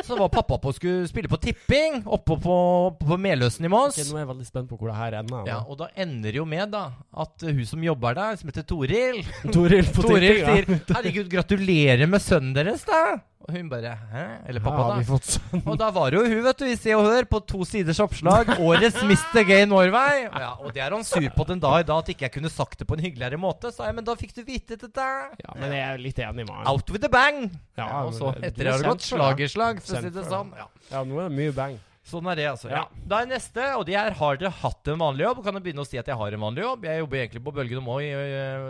Speaker 2: Så var pappa på å skulle spille på tipping oppe på, på, på Meløsen i Moss.
Speaker 1: Ok, nå er jeg veldig spent på hvor det her ender.
Speaker 2: Ja, og da ender det jo med da at eh, hun som jobber der, som heter Toril
Speaker 1: Toril på
Speaker 2: Toril
Speaker 1: tippinga.
Speaker 2: sier 'Herregud, gratulerer med sønnen deres', da. Og hun bare 'Hæ?' Eller
Speaker 1: Her
Speaker 2: pappa,
Speaker 1: har vi
Speaker 2: da.
Speaker 1: fått sånn.
Speaker 2: Og da var det jo hun, vet du, i Se og Hør, på to siders oppslag. 'Årets Mr. Gay Norway'. Ja, og det er han sur på den dag i dag, at ikke jeg kunne sagt det på en hyggeligere måte. Sa jeg, men da fikk du vite dette.
Speaker 1: Ja, men jeg er litt enig med han.
Speaker 2: Out with a bang!
Speaker 1: Ja,
Speaker 2: Ja, og så
Speaker 1: men det-
Speaker 2: etter
Speaker 1: du
Speaker 2: det
Speaker 1: er
Speaker 2: har det
Speaker 1: kjent
Speaker 2: gått
Speaker 1: for
Speaker 2: slag i slag, for å
Speaker 1: Kjent
Speaker 2: si det
Speaker 1: for
Speaker 2: sånn. Ja.
Speaker 1: Ja, nå er det mye bang.
Speaker 2: Sånn er det, altså. Ja.
Speaker 1: Ja.
Speaker 2: Da er neste, og det er har dere hatt en vanlig jobb? Kan jeg begynne å si at jeg har en vanlig jobb? Jeg jobber egentlig på Bølgen og Moi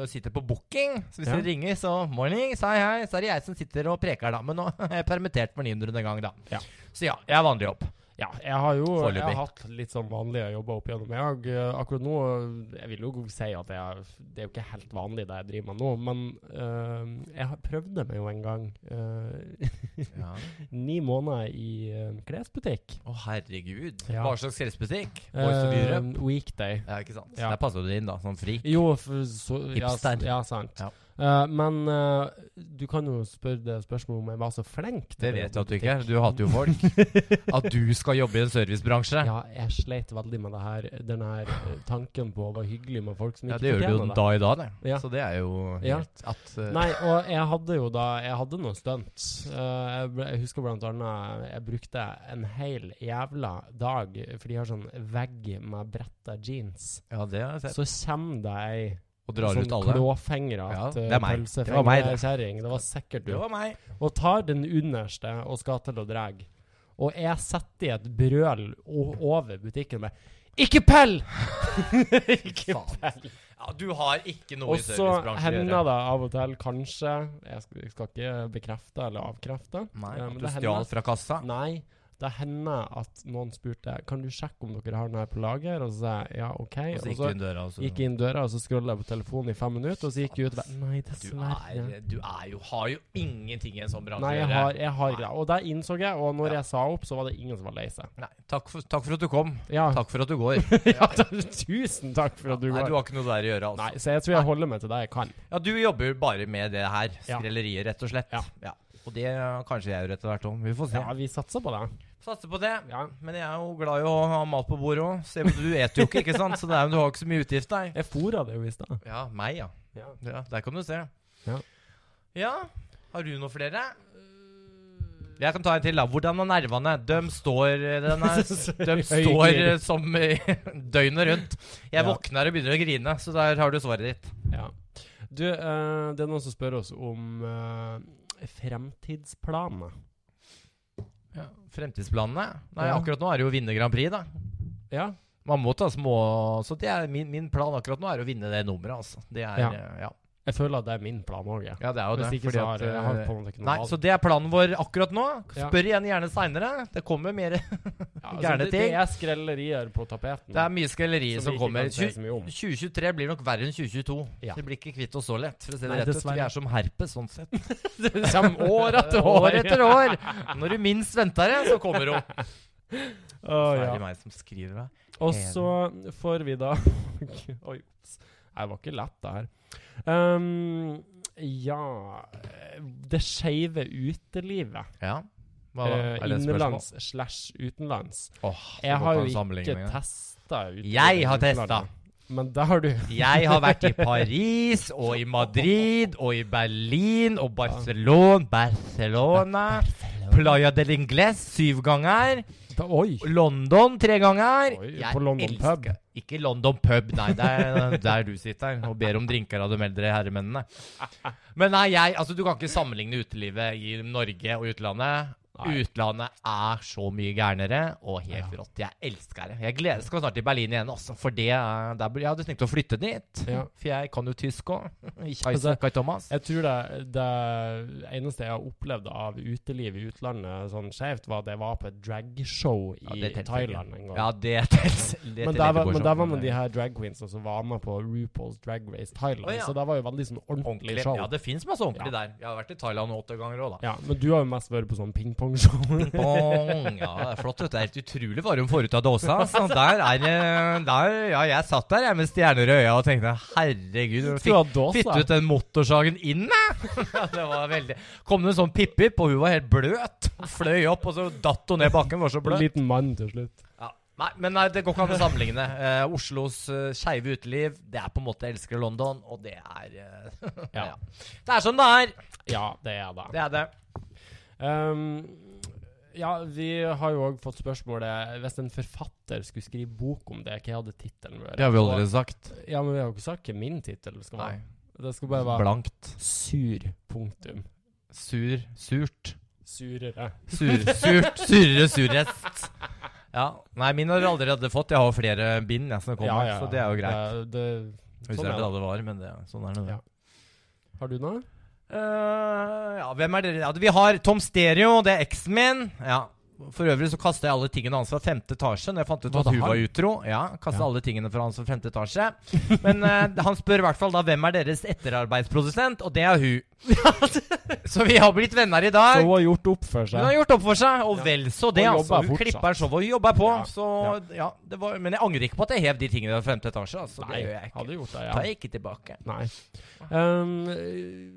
Speaker 2: og sitter på booking. Så hvis
Speaker 1: Ja.
Speaker 2: dere ringer, så morning, si hei. Så er det jeg som sitter og preker, da. Men nå er jeg permittert for 900. gang, da.
Speaker 1: Ja.
Speaker 2: Så ja, jeg har vanlig jobb.
Speaker 1: Ja, jeg har jo jeg
Speaker 2: Foreløpig.
Speaker 1: har hatt litt sånn vanlige jobber opp igjennom. Jeg, har, eh, akkurat nå eh, Jeg vil jo si at jeg, det er jo ikke helt vanlig det jeg driver med nå, men eh, jeg har- prøvde meg jo en gang eh,
Speaker 2: Ja.
Speaker 1: ni måneder i eh, klesbutikk.
Speaker 2: Å, herregud.
Speaker 1: Ja.
Speaker 2: Hva slags klesbutikk? Voice of
Speaker 1: Eh,
Speaker 2: Europe?
Speaker 1: weekday.
Speaker 2: Ja, ikke sant.
Speaker 1: ja.
Speaker 2: Der passer du inn, da, som fri.
Speaker 1: Jo, for så, ja, s-
Speaker 2: Hipster.
Speaker 1: ja, sant.
Speaker 2: Ja.
Speaker 1: Eh, men eh, du kan jo spørre det spørsmålet om jeg var så flink. til å
Speaker 2: Det vet jeg
Speaker 1: jobbe
Speaker 2: at du
Speaker 1: i
Speaker 2: ikke er. Du hater jo folk. At du skal jobbe i en servicebransje. Ja,
Speaker 1: Ja, jeg sleit veldig med det her, den her eh, tanken på å være hyggelig med folk som ikke
Speaker 2: det gjør du jo
Speaker 1: fortjener det.
Speaker 2: da i dag, det.
Speaker 1: Ja.
Speaker 2: Så det er jo
Speaker 1: Ja.
Speaker 2: helt at eh,
Speaker 1: Nei, og jeg hadde jo da Jeg hadde noen stunt. Eh, jeg, ble- jeg husker blant annet jeg brukte en hel jævla dag, for de har sånn vegg med bretta jeans.
Speaker 2: Ja, det har jeg sett.
Speaker 1: Så kommer det ei
Speaker 2: Og drar
Speaker 1: sånn eh,
Speaker 2: ut alle.
Speaker 1: klåfingra
Speaker 2: Ja, det
Speaker 1: til
Speaker 2: er meg. Det var meg, det.
Speaker 1: pølsefengerkjerring. Det var sikkert du.
Speaker 2: Det var meg.
Speaker 1: og tar den underste og skal til å dra. Og jeg setter i et brøl o- over butikken med 'Ikke pell!' Ikke
Speaker 2: Faen.
Speaker 1: pell.
Speaker 2: Ja, du har ikke noe
Speaker 1: Og
Speaker 2: i
Speaker 1: så
Speaker 2: servicebransjen å
Speaker 1: hender
Speaker 2: gjøre.
Speaker 1: det av og til, kanskje Jeg skal, jeg skal ikke bekrefte eller avkrefte.
Speaker 2: Nei,
Speaker 1: eh,
Speaker 2: at
Speaker 1: men
Speaker 2: du
Speaker 1: det
Speaker 2: stjal
Speaker 1: hender-
Speaker 2: fra kassa.
Speaker 1: Nei. Det hender at noen spurte Kan du sjekke om dere har den her på lager. Og så sa jeg ja, OK.
Speaker 2: Og så gikk du inn døra, og så
Speaker 1: gikk jeg inn døra, og så scrolla jeg på telefonen i fem minutter, og så gikk jeg ut og bare Nei,
Speaker 2: du
Speaker 1: dessverre.
Speaker 2: er, du er jo, har jo ingenting i en sånn bransje.
Speaker 1: Nei,
Speaker 2: å
Speaker 1: jeg
Speaker 2: gjøre.
Speaker 1: har, jeg har ikke det. Og der innså jeg, og når
Speaker 2: Ja.
Speaker 1: jeg sa opp, så var det ingen som var lei seg.
Speaker 2: Nei, takk, for, takk for at du kom.
Speaker 1: Ja.
Speaker 2: Takk for at du går.
Speaker 1: ja, da- tusen takk for at du
Speaker 2: Nei, du
Speaker 1: går.
Speaker 2: har ikke noe der å gjøre, altså.
Speaker 1: Nei, så jeg tror jeg holder meg til det jeg kan.
Speaker 2: Ja, du jobber bare med det her.
Speaker 1: Ja.
Speaker 2: Skrelleriet, rett og slett.
Speaker 1: Ja.
Speaker 2: Og det eh, kanskje jeg gjør etter hvert òg. Vi får se.
Speaker 1: Ja, vi satser på det.
Speaker 2: Satser på det.
Speaker 1: Ja.
Speaker 2: Men jeg er jo glad i å ha mat på bordet òg. Se, men du eter jo ikke, ikke sant? Så det er, jo- du har jo ikke så mye utgifter.
Speaker 1: Jeg fôra det jo i stad.
Speaker 2: Ja, meg, ja.
Speaker 1: Ja.
Speaker 2: Ja, der kan du se.
Speaker 1: Ja.
Speaker 2: Ja, Har du noe flere? Jeg kan ta en til. da. Hvordan er nervene? De står, eh, den er, de står eh, som eh, døgnet rundt. Jeg
Speaker 1: Ja.
Speaker 2: våkner og begynner å grine, så der har du svaret ditt.
Speaker 1: Ja. Du, eh, det er noen som spør oss om eh, fremtidsplaner.
Speaker 2: Fremtidsplanene? Nei,
Speaker 1: Ja.
Speaker 2: akkurat nå er det jo å vinne Grand Prix, da.
Speaker 1: Ja.
Speaker 2: Man må ta små Så det er min, min plan akkurat nå er å vinne det nummeret, altså. Det er
Speaker 1: Ja.
Speaker 2: eh, ja.
Speaker 1: Jeg føler at det er min plan òg, jeg.
Speaker 2: Ja, det er jo det.
Speaker 1: Hvis ikke
Speaker 2: fordi
Speaker 1: så har
Speaker 2: at,
Speaker 1: jeg har
Speaker 2: eh,
Speaker 1: på en måte ikke noe
Speaker 2: Nei,
Speaker 1: valg.
Speaker 2: så det er planen vår akkurat nå.
Speaker 1: Ja.
Speaker 2: Spør igjen gjerne seinere. Det kommer mer
Speaker 1: Ja, altså,
Speaker 2: gærne
Speaker 1: det,
Speaker 2: ting.
Speaker 1: det er skrellerier på tapeten.
Speaker 2: Det er mye skrelleri som,
Speaker 1: Mm. vi ikke
Speaker 2: kommer.
Speaker 1: kan si
Speaker 2: Tju-
Speaker 1: så mye om.
Speaker 2: 2023 blir nok verre enn 2022.
Speaker 1: Ja.
Speaker 2: Vi blir ikke kvitt oss så lett. For å si det
Speaker 1: Nei,
Speaker 2: rett ut,
Speaker 1: dessverre.
Speaker 2: vi er som herpes sånn sett.
Speaker 1: Det kommer år etter år.
Speaker 2: år etter år. Når du minst venter det, så kommer hun.
Speaker 1: Å,
Speaker 2: Så er
Speaker 1: ja.
Speaker 2: det meg som skriver det.
Speaker 1: Og
Speaker 2: Enig.
Speaker 1: så får vi da Oi, ops. Nei, det var ikke lett, det her. Ehm, ja eh, Det skeive utelivet.
Speaker 2: Ja. Hva, da?
Speaker 1: eh,
Speaker 2: er det et spørsmål?
Speaker 1: innenlands slash utenlands.
Speaker 2: Åh, så
Speaker 1: Jeg
Speaker 2: godt
Speaker 1: har
Speaker 2: han
Speaker 1: jo ikke
Speaker 2: sammenligner.
Speaker 1: testa utelivet.
Speaker 2: Jeg
Speaker 1: i
Speaker 2: har
Speaker 1: utlandet.
Speaker 2: testa.
Speaker 1: Men det har du.
Speaker 2: Jeg har vært i Paris og i Madrid og i Berlin og Barcelona, Barcelona Playa del Ingles syv ganger.
Speaker 1: Da, oi!
Speaker 2: London tre ganger.
Speaker 1: Oi, på London pub.
Speaker 2: Ikke London pub, nei. Det er der du sitter og ber om drinker av de eldre herremennene. Men nei, jeg, altså, du kan ikke sammenligne utelivet i Norge og utlandet.
Speaker 1: Nei.
Speaker 2: Utlandet er så mye gærnere og helt rått. Jeg elsker det. Jeg gleder skal snart til Berlin igjen, altså. For det, er- der, blir- jeg hadde tenkt å flytte dit.
Speaker 1: Ja.
Speaker 2: For jeg kan jo tysk òg. Ikke
Speaker 1: Altså,
Speaker 2: Isaac og Thomas.
Speaker 1: Jeg tror det, det eneste jeg har opplevd av uteliv i utlandet sånn skjevt, var at jeg var på et dragshow i
Speaker 2: Ja, det teller ikke.
Speaker 1: Thailand en gang.
Speaker 2: Ja, det tels. det
Speaker 1: Men der
Speaker 2: teller ikke
Speaker 1: var,
Speaker 2: går
Speaker 1: men
Speaker 2: sånn.
Speaker 1: der var man de her drag queens som var med på RuPaul's Drag Race Thailand,
Speaker 2: Å, ja.
Speaker 1: så det var jo veldig sånn ordentlig
Speaker 2: Ordentlig.
Speaker 1: show.
Speaker 2: Ja,
Speaker 1: Ja,
Speaker 2: det fins masse ordentlig
Speaker 1: Ja.
Speaker 2: der. Jeg har vært i Thailand åtte ganger òg, da.
Speaker 1: Men du har jo mest vært på sånn pingpongshow.
Speaker 2: Bong! Ja, det er flott. vet du. Det er helt utrolig varm forut av dåsa. Så der er det- der, Ja, jeg satt der jeg med stjerner i øya og tenkte herregud
Speaker 1: Skulle
Speaker 2: fikk,
Speaker 1: ha dås,
Speaker 2: Fitt
Speaker 1: da.
Speaker 2: ut den motorsagen inn, jeg! Ja, det var veldig Kom det en sånn pip-pip, og hun var helt bløt. Hun Fløy opp, og så datt hun ned bakken. Var så
Speaker 1: En
Speaker 2: bløt.
Speaker 1: liten mann til slutt.
Speaker 2: Ja. Nei, men nei, det går ikke an å sammenligne. Eh, Oslos uh, skeive uteliv, det er på en måte jeg elsker London, og det er eh, ja.
Speaker 1: Ja.
Speaker 2: Det er sånn det er!
Speaker 1: Ja, det er det.
Speaker 2: Det er det.
Speaker 1: Ehm, ja, vi har jo òg fått spørsmålet Hvis en forfatter skulle skrive bok om det, hva hadde tittelen vært?
Speaker 2: sagt.
Speaker 1: Og- Ja, men vi har jo ikke sagt hva min tittel skal
Speaker 2: Nei.
Speaker 1: være. Det skal bare være
Speaker 2: Blankt.
Speaker 1: Sur. Punktum.
Speaker 2: Sur. Surt.
Speaker 1: Surere.
Speaker 2: Sur, surt, surere surest. Ja. Nei, min har jeg allerede fått. Jeg har flere bind jeg, som kommer, så det er jo
Speaker 1: Det-
Speaker 2: greit.
Speaker 1: det-
Speaker 2: Hvis
Speaker 1: sånn
Speaker 2: jeg
Speaker 1: er det.
Speaker 2: vet alle var, men det, er- sånn er det. nå.
Speaker 1: Ja. Har du noe?
Speaker 2: Eh, ja, hvem er dere? Ja, vi har Tom Stereo, det er eksen min. Ja. For øvrig så kasta jeg alle tingene hans fra femte etasje. Når jeg fant ut
Speaker 1: Var
Speaker 2: at
Speaker 1: det
Speaker 2: hun
Speaker 1: han?
Speaker 2: var utro. Ja, kastet
Speaker 1: Ja.
Speaker 2: alle tingene fra hans fra femte etasje Men eh, han spør i hvert fall da hvem er deres etterarbeidsprodusent, og det er hun. så vi har blitt venner i
Speaker 1: Så
Speaker 2: dag.
Speaker 1: hun har gjort opp for
Speaker 2: Hun har
Speaker 1: seg.
Speaker 2: gjort opp for seg, og
Speaker 1: Ja.
Speaker 2: vel så det.
Speaker 1: Og
Speaker 2: altså
Speaker 1: jobber
Speaker 2: Hun
Speaker 1: fortsatt.
Speaker 2: klipper showet, og hun jobber på.
Speaker 1: Ja.
Speaker 2: Så, ja, det var, men jeg angrer ikke på at jeg hev de tingene fra femte etasje. Altså,
Speaker 1: Nei,
Speaker 2: det gjør jeg ikke.
Speaker 1: hadde gjort det, ja.
Speaker 2: Tar jeg ikke tilbake.
Speaker 1: Nei. Um,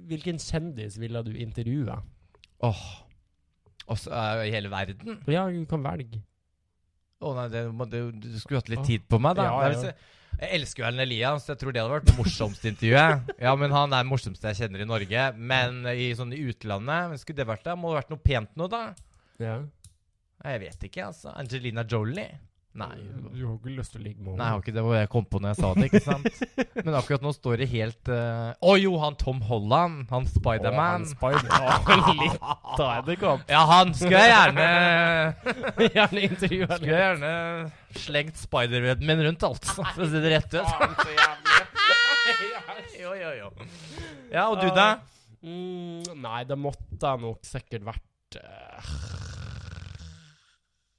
Speaker 1: hvilken kjendis ville du intervjue?
Speaker 2: Åh. Og så er jo hele verden
Speaker 1: Ja, du kan velge.
Speaker 2: Å nei, det, må- det, du skulle hatt litt
Speaker 1: Åh.
Speaker 2: tid på meg, da.
Speaker 1: Ja,
Speaker 2: Nei,
Speaker 1: ja.
Speaker 2: hvis jeg, jeg elsker jo Erlend Elias, jeg tror det hadde vært det morsomste intervjuet. Ja, men han er den morsomste jeg kjenner i Norge. Men i, sånn, i utlandet men Skulle det vært det? Må det vært noe pent noe, da?
Speaker 1: Ja.
Speaker 2: Nei, Jeg vet ikke, altså. Angelina Jolie? Nei.
Speaker 1: Du har ikke lyst til å ligge med
Speaker 2: Nei, jeg
Speaker 1: henne?
Speaker 2: har ikke det hvor jeg kom på når jeg sa det, ikke sant? Men akkurat nå står det helt eh, Å jo, han Tom Holland! Han Spiderman.
Speaker 1: Spiderman. Litt av edderkopp.
Speaker 2: Ja, han skulle jeg gjerne
Speaker 1: Gjerne intervjue
Speaker 2: Skulle jeg gjerne slengt spiderwebben min rundt, altså. For å si det rett ut. jo, jo, jo. Ja, og du, da?
Speaker 1: Mm, nei, det måtte jeg nok sikkert vært eh,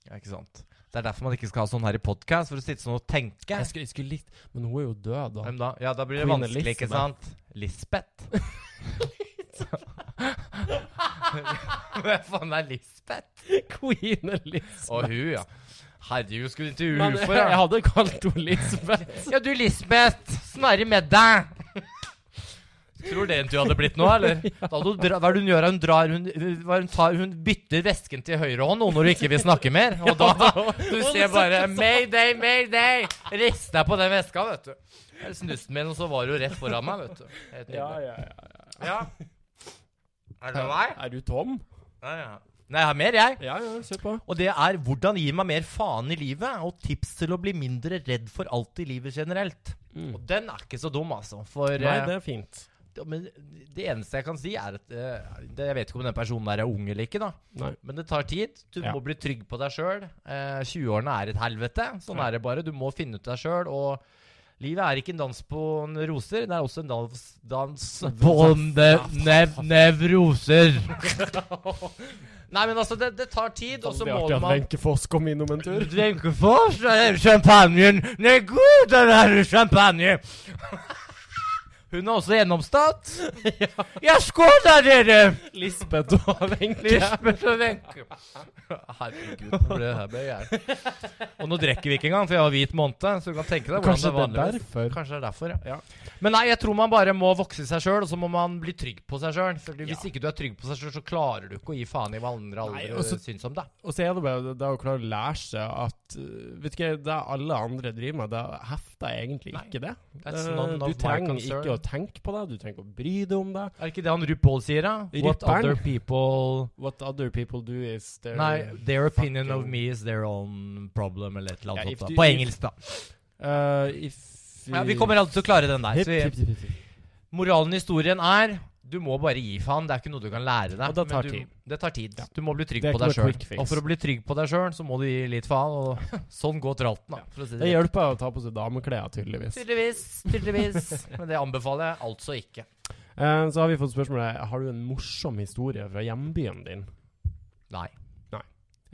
Speaker 2: Ja, ikke sant. Det er derfor man ikke skal ha sånn her i podkast, for å sitte sånn og tenke.
Speaker 1: jeg, skulle, jeg skulle likt Men hun er jo død, da.
Speaker 2: Hvem da? Ja, da blir det
Speaker 1: Queen
Speaker 2: vanskelig, ikke
Speaker 1: Elizabeth.
Speaker 2: sant? Lisbeth. Hvem faen er Lisbeth?
Speaker 1: Queen Elizabeth.
Speaker 2: Å, hun, ja. Herregud, skulle du intervjue
Speaker 1: Men eh,
Speaker 2: henne for?
Speaker 1: jeg
Speaker 2: Ja.
Speaker 1: hadde kalt henne Lisbeth.
Speaker 2: ja, du, Lisbeth. Snarre med deg. Tror det intervjuet hadde blitt nå, eller? Da hadde hun dra, hva er det hun gjør? Hun, drar, hun, hva er det hun, tar, hun bytter vesken til høyre hånd og når hun ikke vil snakke mer. Og da sånn. Du ser bare 'Mayday, Mayday'! Rista på den veska, vet du. Jeg snuste min, og så var hun rett foran meg, vet du. Helt
Speaker 1: ja,
Speaker 2: nydelig.
Speaker 1: ja, ja.
Speaker 2: Ja. Er det meg?
Speaker 1: Er du tom?
Speaker 2: Ja, ja. Nei, jeg har mer, jeg.
Speaker 1: Ja, ja, se på.
Speaker 2: Og det er 'Hvordan gi meg mer faen i livet?' og tips til å bli mindre redd for alt i livet generelt.
Speaker 1: Mm.
Speaker 2: Og den er ikke så dum, altså. For
Speaker 1: Nei,
Speaker 2: eh,
Speaker 1: det er fint.
Speaker 2: det... Men det eneste jeg kan si, er at eh, det, Jeg vet ikke om den personen der er ung eller ikke, da.
Speaker 1: Nei.
Speaker 2: Men det tar tid. Du
Speaker 1: Ja.
Speaker 2: må bli trygg på deg sjøl. Eh, 20-årene er et helvete. Sånn
Speaker 1: Ja.
Speaker 2: er det bare. Du må finne ut deg sjøl. Og livet er ikke en dans på en roser. Det er også en dans, dans på ne- nev- nevroser. Nei, men altså, det, det tar tid, og så
Speaker 1: Veldig
Speaker 2: må
Speaker 1: artig at
Speaker 2: man
Speaker 1: Wenche Foss kom innom en tur.
Speaker 2: Drenker for seg champagnen. Nei, god, den er champagne. Hun er også gjennomstått. Ja, skål da, dere!
Speaker 1: Lisbeth og Wenche.
Speaker 2: Lisbeth og Wenche. Herregud, nå ble det her med jeg. Og nå drikker vi ikke engang, for jeg har hvit måned. Så du kan tenke deg hvordan
Speaker 1: Kanskje det er
Speaker 2: det er vanligvis.
Speaker 1: derfor.
Speaker 2: Kanskje det er derfor,
Speaker 1: Ja.
Speaker 2: Men nei, jeg tror man bare må vokse seg sjøl, og så må man bli trygg på seg sjøl. Hvis
Speaker 1: Ja.
Speaker 2: ikke du er trygg på seg sjøl, så klarer du ikke å gi faen i hva andre
Speaker 1: Nei, altså,
Speaker 2: aldri
Speaker 1: og så-
Speaker 2: syns om deg.
Speaker 1: Og så er det bare det å klare å lære seg at øh, Vet ikke, det alle andre driver med, det hefter egentlig
Speaker 2: Nei.
Speaker 1: ikke det.
Speaker 2: That's
Speaker 1: Eh,
Speaker 2: none of my
Speaker 1: du trenger
Speaker 2: concern.
Speaker 1: ikke å tenke på det, du trenger ikke å bry deg om det.
Speaker 2: Er ikke det han RuPaul sier, da? What
Speaker 1: Ripperen.
Speaker 2: other people
Speaker 1: What other people do is their
Speaker 2: Nei, their opinion of
Speaker 1: fucking-
Speaker 2: me is their own problem, eller et eller
Speaker 1: Ja,
Speaker 2: annet
Speaker 1: if
Speaker 2: sånt.
Speaker 1: you-
Speaker 2: da. På
Speaker 1: if-
Speaker 2: engelsk, da.
Speaker 1: Eh, if
Speaker 2: Ja, vi kommer alltid til å klare den der.
Speaker 1: Hipp,
Speaker 2: Så vi,
Speaker 1: hipp, hipp, hipp.
Speaker 2: Moralen i historien er du må bare gi faen. Det er ikke noe du kan lære deg.
Speaker 1: Og det tar
Speaker 2: men du,
Speaker 1: tid.
Speaker 2: Det tar tid.
Speaker 1: Ja.
Speaker 2: Du må bli trygg
Speaker 1: Det er
Speaker 2: på
Speaker 1: ikke
Speaker 2: deg
Speaker 1: noe
Speaker 2: sjøl.
Speaker 1: quick fix.
Speaker 2: Og for å bli trygg på deg sjøl, så må du gi litt faen. Og sånn går tralten, da. For å si
Speaker 1: Det
Speaker 2: det rett.
Speaker 1: hjelper å ta på seg dameklær, tydeligvis.
Speaker 2: Tydeligvis. Tydeligvis. Men det anbefaler jeg altså ikke.
Speaker 1: Eh, så har vi fått spørsmålet Har du en morsom historie fra hjembyen din.
Speaker 2: Nei.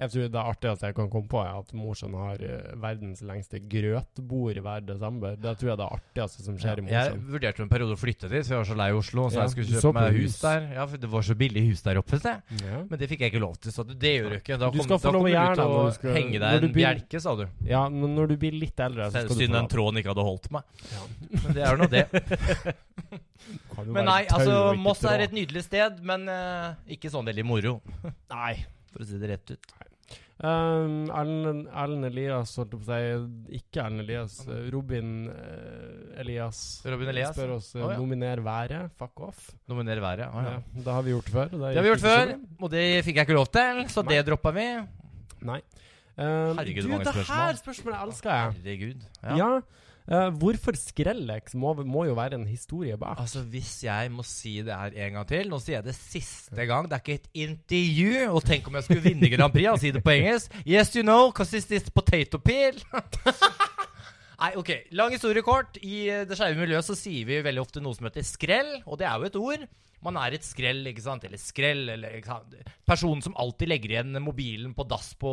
Speaker 1: Jeg tror det er artig at jeg kan komme på er at Mosjøen har eh, verdens lengste grøtbord hver desember. Det tror jeg det er artigste som skjer i
Speaker 2: Jeg
Speaker 1: Mosjøen.
Speaker 2: vurderte jo en periode å flytte dit, for jeg var så lei Oslo. Så
Speaker 1: Ja,
Speaker 2: jeg
Speaker 1: du
Speaker 2: skulle
Speaker 1: så
Speaker 2: kjøpe
Speaker 1: på
Speaker 2: meg
Speaker 1: hus.
Speaker 2: hus der. Ja, for det var så billig hus der oppe. Se.
Speaker 1: Ja.
Speaker 2: Men det fikk jeg ikke lov til, sa du. Det gjør du ikke. Da
Speaker 1: Du
Speaker 2: kom,
Speaker 1: skal få
Speaker 2: da
Speaker 1: lov å
Speaker 2: kommer
Speaker 1: gjøre
Speaker 2: du
Speaker 1: det
Speaker 2: til å
Speaker 1: når du skal-
Speaker 2: henge
Speaker 1: når
Speaker 2: deg
Speaker 1: du
Speaker 2: en
Speaker 1: begynner-
Speaker 2: bjelke, sa du.
Speaker 1: ja, men når du blir litt eldre, så skal du
Speaker 2: Synd den tråden ikke hadde holdt meg. Men det er jo nå det. Men nei, altså Moss er et nydelig sted, men eh, ikke sånn veldig moro,
Speaker 1: Nei.
Speaker 2: for å si det rett ut.
Speaker 1: Um, Erlend Erlend Elias, holdt jeg på å si. Ikke Erlend Elias. eh, Robin eh, Elias.
Speaker 2: Robin Elias,
Speaker 1: Spør oss eh,
Speaker 2: Å, ja.
Speaker 1: nominer været. Fuck off.
Speaker 2: Nominere været. Å, ja.
Speaker 1: ja. Det har vi gjort før.
Speaker 2: Det har vi gjort før, og det fikk jeg ikke lov til, så
Speaker 1: Nei.
Speaker 2: det droppa vi.
Speaker 1: Nei. Um,
Speaker 2: Herregud,
Speaker 1: du,
Speaker 2: mange
Speaker 1: det
Speaker 2: spørsmål.
Speaker 1: her spørsmålet elsker jeg.
Speaker 2: Herregud.
Speaker 1: Ja.
Speaker 2: Ja.
Speaker 1: Eh, hvorfor Skrellex må, må jo være en historie bak?
Speaker 2: Altså, Hvis jeg må si det her en gang til Nå sier jeg det siste gang. Det er ikke et intervju. Og tenk om jeg skulle vinne Grand Prix og si det på engelsk. Yes, you know, cause it's this potato peel. Nei, ok. Lang historie kort. I eh, det skeive miljøet så sier vi veldig ofte noe som heter skrell, og det er jo et ord. Man er et skrell, ikke sant? Eller skrell, eller ikke sant? Personen som alltid legger igjen mobilen på dass på,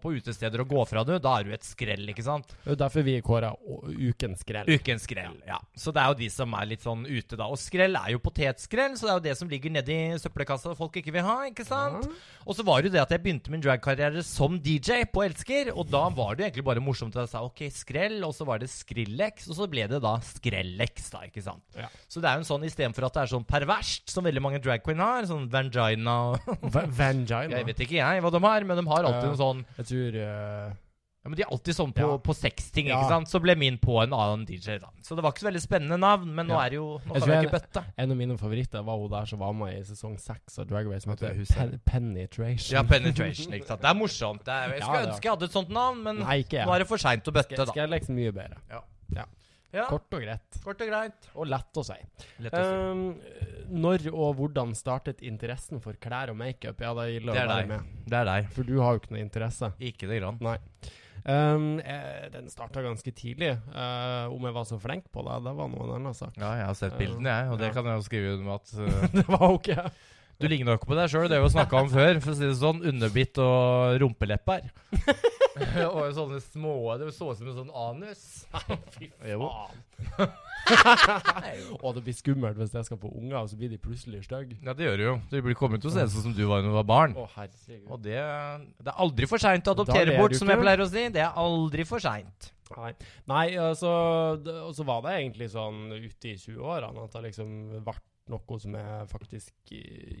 Speaker 2: på utesteder og går fra det, da er du et skrell, ikke sant?
Speaker 1: Det er jo derfor vi kåra Ukens Skrell.
Speaker 2: Ukens skrell, ja. Så det er jo de som er litt sånn ute, da. Og skrell er jo potetskrell, så det er jo det som ligger nedi søppelkassa folk ikke vil ha, ikke sant? Og så var det jo det at jeg begynte min dragkarriere som DJ på Elsker, og da var det jo egentlig bare morsomt at jeg sa OK, skrell, og så var det Skrillex, og så ble det da Skrellex, da, ikke sant?
Speaker 1: Ja.
Speaker 2: Så det er jo en sånn istedenfor at det er sånn perverst, som veldig mange drag queen har, sånn vangina og
Speaker 1: Va- Vangina.
Speaker 2: Jeg
Speaker 1: Jeg,
Speaker 2: vet ikke jeg hva de har, men de har alltid
Speaker 1: Ja.
Speaker 2: noe sånn
Speaker 1: tror eh,
Speaker 2: ja, men De er alltid sånn på,
Speaker 1: Ja.
Speaker 2: på sexting,
Speaker 1: Ja.
Speaker 2: ikke sant? Så ble min på en annen DJ, da. Så det var ikke så veldig spennende navn, men nå
Speaker 1: Ja.
Speaker 2: er det jo Nå
Speaker 1: Jeg
Speaker 2: kan
Speaker 1: tror
Speaker 2: jeg
Speaker 1: jeg-
Speaker 2: ikke bøtte.
Speaker 1: en av mine favoritter var hun der som var med i sesong seks av Dragway, som
Speaker 2: Vet du,
Speaker 1: heter
Speaker 2: hun sa-
Speaker 1: Pen Penetration.
Speaker 2: Ja, penetration, ikke sant. Det er morsomt. Det er, jeg skulle
Speaker 1: Ja, det er-
Speaker 2: ønske jeg hadde et sånt navn, men
Speaker 1: Nei, ikke
Speaker 2: nå
Speaker 1: jeg.
Speaker 2: er det for seint å bøtte, da.
Speaker 1: Skrellex er mye bedre.
Speaker 2: Ja, kort.
Speaker 1: Kort og greit.
Speaker 2: og greit.
Speaker 1: Og lett å si.
Speaker 2: Lett å si.
Speaker 1: Um, når og hvordan startet interessen for klær og makeup? Ja, det er ille å
Speaker 2: Det er
Speaker 1: være
Speaker 2: deg.
Speaker 1: med.
Speaker 2: Det er deg.
Speaker 1: For du har jo ikke noe interesse.
Speaker 2: Ikke det grann.
Speaker 1: Nei. Um, eh, den starta ganske tidlig. Eh, om jeg var så flink på det, det var noen annen sak.
Speaker 2: Ja, jeg har sett
Speaker 1: Ja.
Speaker 2: bildene, jeg, og det
Speaker 1: Ja.
Speaker 2: kan jeg jo skrive under med at uh,
Speaker 1: det var jo ikke jeg.
Speaker 2: Du ligner nok på deg sjøl, det har vi jo snakka om før. For å si det sånn, underbitt og rumpelepper. og sånne små Det så ut som en sånn anus.
Speaker 1: Fy
Speaker 2: Jo.
Speaker 1: faen. Og det blir skummelt hvis jeg skal få unger, og så blir de plutselig stygge.
Speaker 2: Ja, det gjør du jo. Du blir kommet til å se ut sånn som du var da du var barn.
Speaker 1: Å, herregud.
Speaker 2: Og det, det er aldri for seint
Speaker 1: Da
Speaker 2: å
Speaker 1: ler
Speaker 2: adoptere bort,
Speaker 1: du
Speaker 2: som
Speaker 1: ikke.
Speaker 2: jeg pleier å si. Det er aldri for seint.
Speaker 1: Nei, Nei altså, det, og så var det egentlig sånn ute i 20-årene at det liksom ble noe som jeg faktisk eh,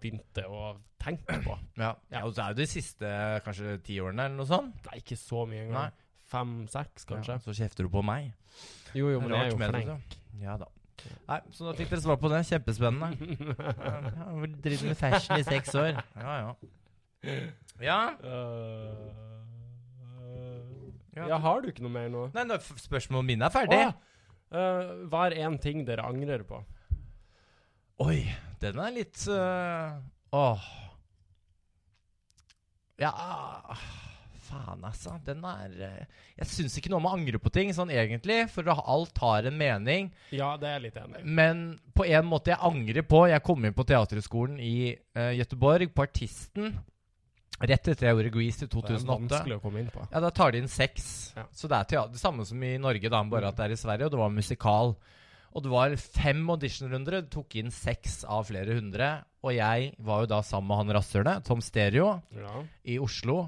Speaker 1: begynte å tenke på.
Speaker 2: Ja. og så er jo de siste kanskje ti årene eller noe sånt.
Speaker 1: Nei, ikke så mye
Speaker 2: Nei.
Speaker 1: engang. Fem-seks, kanskje.
Speaker 2: Ja, så kjefter du på meg.
Speaker 1: Jo, jo, men jeg er jo
Speaker 2: Rart med det,
Speaker 1: flink.
Speaker 2: så. Ja da. Nei, så da fikk dere svar på det. Kjempespennende. Ja, ja, vi driver med fashion i seks år. Ja, ja. Ja,
Speaker 1: Eh, ja,
Speaker 2: ja.
Speaker 1: eh, har du ikke noe mer nå?
Speaker 2: Nei, nå, f- spørsmålet mine er ferdig.
Speaker 1: Å, eh, hva er én ting dere angrer på?
Speaker 2: Oi, den er litt øh, Åh. Ja ah, Faen, altså. Den er øh, Jeg syns ikke noe om å angre på ting, sånn egentlig, for da alt har en mening.
Speaker 1: Ja, det er jeg litt enig i.
Speaker 2: Men på en måte jeg angrer på Jeg kom inn på Teaterhøgskolen i uh, Gøteborg, på Artisten, rett etter jeg gjorde Grease
Speaker 1: Det
Speaker 2: i
Speaker 1: er
Speaker 2: 2008.
Speaker 1: vanskelig å komme inn på.
Speaker 2: Ja, da tar de inn seks.
Speaker 1: Ja.
Speaker 2: Så det er teater, det samme som i Norge, da, bare at det er i Sverige, og det var musikal. Og det var fem auditionrunder, det tok inn seks av flere hundre. Og jeg var jo da sammen med han rasshølet, Tom Stereo,
Speaker 1: Ja.
Speaker 2: i Oslo,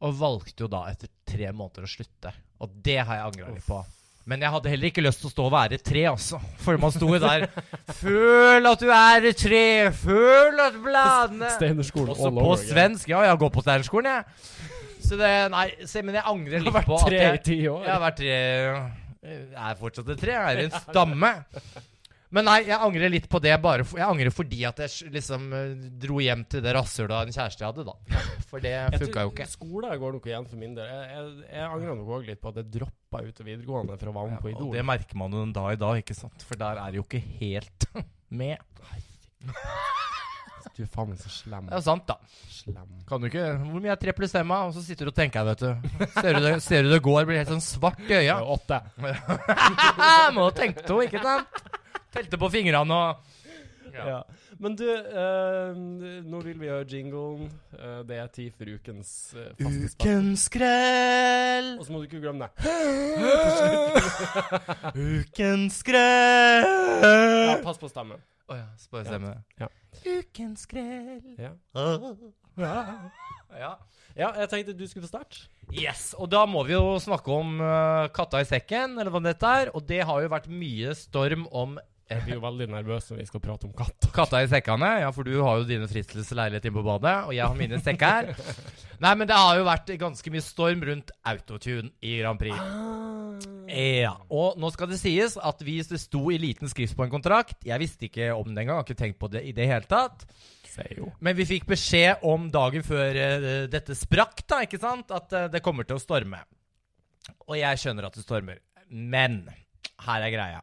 Speaker 2: og valgte jo da etter tre måneder å slutte. Og det har jeg angra litt på. Men jeg hadde heller ikke lyst til å stå og være tre, altså. For man sto jo der Føl at du er et tre, føl at bladene
Speaker 1: Steinerskolen
Speaker 2: også
Speaker 1: all
Speaker 2: på
Speaker 1: over again.
Speaker 2: svensk. Ja, jeg går på steinerskolen, jeg. Så det, nei, se, men jeg angrer
Speaker 1: Det har
Speaker 2: litt
Speaker 1: vært
Speaker 2: på at
Speaker 1: tre i
Speaker 2: jeg,
Speaker 1: ti år.
Speaker 2: jeg har vært tre Jeg er fortsatt et tre. Jeg er en stamme. Men nei, jeg angrer litt på det. Bare for, jeg angrer fordi at jeg s- liksom eh, dro hjem til det rasshølet av en kjæreste jeg hadde, da. For det
Speaker 1: Jeg
Speaker 2: funka
Speaker 1: tror
Speaker 2: jo ikke.
Speaker 1: Skolen går nok igjen for min del. Jeg, jeg, jeg angrer nok òg litt på at jeg droppa ut av videregående for å være med på
Speaker 2: og
Speaker 1: Idol.
Speaker 2: det merker man jo da i dag, ikke sant? For der er det jo ikke helt med.
Speaker 1: Du er faen meg så slem.
Speaker 2: Det er jo sant, da.
Speaker 1: slem.
Speaker 2: Kan du ikke Hvor mye er tre pluss fem, da? Og så sitter du og tenker, vet du. Ser du det, ser du det går, blir helt sånn svart i
Speaker 1: Det
Speaker 2: øya.
Speaker 1: er åtte.
Speaker 2: Må tenke to, ikke sant? Telte på fingrene og
Speaker 1: Ja. Men du, eh, nå vil vi gjøre jinglen. Eh, det er tid for ukens eh, faste spalte.
Speaker 2: Ukens skrell,
Speaker 1: Og så må du ikke glemme det.
Speaker 2: ukens
Speaker 1: Ja,
Speaker 2: skrell.
Speaker 1: pass på stemmen.
Speaker 2: Å ja, spør stemme.
Speaker 1: Ja.
Speaker 2: Ukens skrell.
Speaker 1: Ja.
Speaker 2: Ja.
Speaker 1: ja, jeg tenkte du skulle få starte.
Speaker 2: Yes, og da må vi jo snakke om eh, katta i sekken, eller hva det er. Og det har jo vært mye storm om
Speaker 1: Jeg blir jo veldig nervøs når vi skal prate om katt.
Speaker 2: Katta i sekkene, ja, for du har jo dine fristelseleilighet inne på badet, og jeg har mine sekker. Nei, men det har jo vært ganske mye storm rundt autotune i Grand Prix.
Speaker 1: Ah.
Speaker 2: Ja, og nå skal det sies at vi det sto i liten skrift på en kontrakt. Jeg visste ikke om det engang, har ikke tenkt på det i det hele tatt.
Speaker 1: Sier jo.
Speaker 2: Men vi fikk beskjed om dagen før eh, dette sprakk, da, ikke sant? At eh, det kommer til å storme. Og jeg skjønner at det stormer. Men her er greia.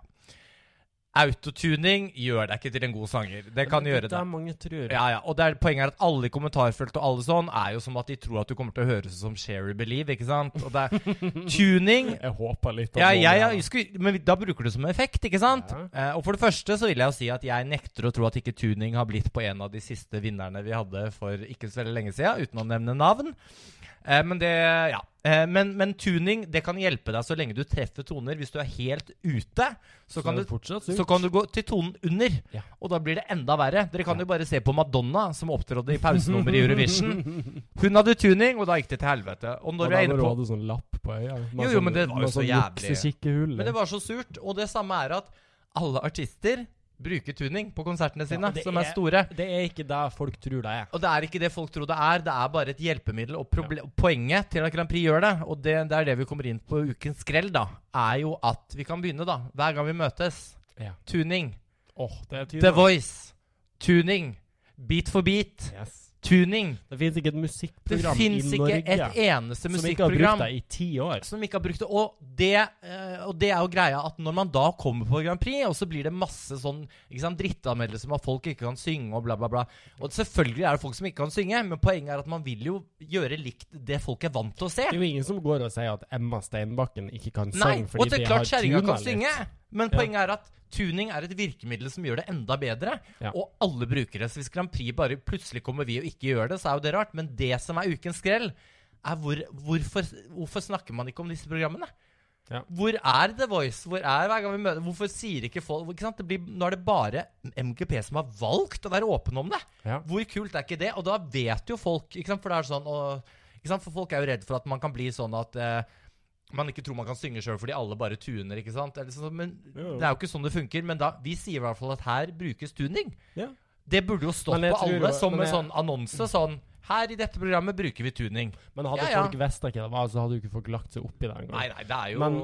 Speaker 2: Autotuning gjør deg ikke til en god sanger. Det kan gjøre
Speaker 1: Det
Speaker 2: det.
Speaker 1: er mange tror.
Speaker 2: Ja, ja. Og det er, poenget er at alle i kommentarfelt og alle sånn er jo som at de tror at du kommer til å høres ut som Sherry Believe, ikke sant? Og det er tuning
Speaker 1: Jeg håper litt. at
Speaker 2: ja,
Speaker 1: noen
Speaker 2: jeg,
Speaker 1: er-
Speaker 2: jeg skulle, men da bruker du det som effekt, ikke sant?
Speaker 1: Ja.
Speaker 2: Eh, og for det første så vil jeg jo si at jeg nekter å tro at ikke tuning har blitt på en av de siste vinnerne vi hadde for ikke så veldig lenge siden, uten å nevne navn. Eh, men det, ja. Eh, men, men tuning, det kan hjelpe deg så lenge du treffer toner. Hvis du er helt ute, så,
Speaker 1: så
Speaker 2: kan,
Speaker 1: er det
Speaker 2: du,
Speaker 1: fortsatt
Speaker 2: så kan du gå til tonen under.
Speaker 1: Ja.
Speaker 2: Og da blir det enda verre. Dere kan
Speaker 1: Ja.
Speaker 2: jo bare se på Madonna, som opptrådte i pausenummeret i Eurovision. Hun hadde tuning, og da gikk det til helvete. Og når
Speaker 1: Og
Speaker 2: vi
Speaker 1: da
Speaker 2: er inne på
Speaker 1: hadde du sånn lapp på øya. med
Speaker 2: Jo, jo,
Speaker 1: sånn-
Speaker 2: men det var jo
Speaker 1: med
Speaker 2: så
Speaker 1: sånn
Speaker 2: jævlig.
Speaker 1: juksekikkehull.
Speaker 2: Men det var så surt. Og det samme er at alle artister bruker tuning på konsertene sine,
Speaker 1: og det
Speaker 2: som
Speaker 1: er-
Speaker 2: er store.
Speaker 1: Det er ikke det folk tror det er.
Speaker 2: Og det er ikke det folk tror det er, det er bare et hjelpemiddel. Og proble poenget til at Grand Prix gjør det, og det, det er det vi kommer inn på ukens skrell, da, er jo at vi kan begynne, da. Hver gang vi møtes.
Speaker 1: Ja.
Speaker 2: Tuning.
Speaker 1: Åh, det er
Speaker 2: The Voice. Tuning. Beat for beat.
Speaker 1: Yes.
Speaker 2: Tuning.
Speaker 1: Det fins ikke et
Speaker 2: Det
Speaker 1: musikkprogram i
Speaker 2: fins
Speaker 1: Norge
Speaker 2: ikke et eneste
Speaker 1: som ikke har brukt
Speaker 2: musikkprogram
Speaker 1: deg i ti år.
Speaker 2: som ikke har brukt det. Og det, eh, og det er jo greia at når man da kommer på Grand Prix, og så blir det masse sånn ikke sant, drittanmeldelser om at folk ikke kan synge og bla, bla, bla. Og selvfølgelig er det folk som ikke kan synge, men poenget er at man vil jo gjøre likt det folk er vant til å se.
Speaker 1: Det er jo ingen som går og sier at Emma Steinbakken ikke kan
Speaker 2: Nei,
Speaker 1: synge
Speaker 2: og
Speaker 1: fordi
Speaker 2: det
Speaker 1: de
Speaker 2: er
Speaker 1: har
Speaker 2: klart kjerringa
Speaker 1: tuna
Speaker 2: kan
Speaker 1: litt.
Speaker 2: synge, men
Speaker 1: Ja.
Speaker 2: poenget er at tuning er et virkemiddel som gjør det enda bedre,
Speaker 1: Ja.
Speaker 2: og alle bruker det. Så hvis Grand Prix bare plutselig kommer vi og ikke gjør det, så er jo det rart. Men det som er ukens skrell, er hvor, hvorfor, hvorfor snakker man ikke om disse programmene?
Speaker 1: Ja.
Speaker 2: Hvor er The Voice? Hvor er hver gang vi møter Hvorfor sier ikke folk ikke sant? Det blir, Nå er det bare MGP som har valgt å være åpen om det.
Speaker 1: Ja.
Speaker 2: Hvor kult er ikke det? Og da vet jo folk ikke sant? For det er sånn og, ikke sant? For folk er jo redd for at man kan bli sånn at eh, man ikke tror man kan synge sjøl fordi alle bare tuner, ikke sant? Eller sånn, men
Speaker 1: Jo, jo.
Speaker 2: det er jo ikke sånn det funker. Men da, vi sier i hvert fall at her brukes tuning.
Speaker 1: Ja.
Speaker 2: Det burde jo stått
Speaker 1: Men jeg
Speaker 2: på
Speaker 1: tror
Speaker 2: alle
Speaker 1: jo-
Speaker 2: som
Speaker 1: men
Speaker 2: en
Speaker 1: jeg-
Speaker 2: sånn annonse. Sånn Her i dette programmet bruker vi tuning.
Speaker 1: Men hadde
Speaker 2: Ja, ja.
Speaker 1: folk visst ikke det var, så hadde jo ikke folk lagt seg opp i det engang.
Speaker 2: Nei, nei, det er jo
Speaker 1: Men-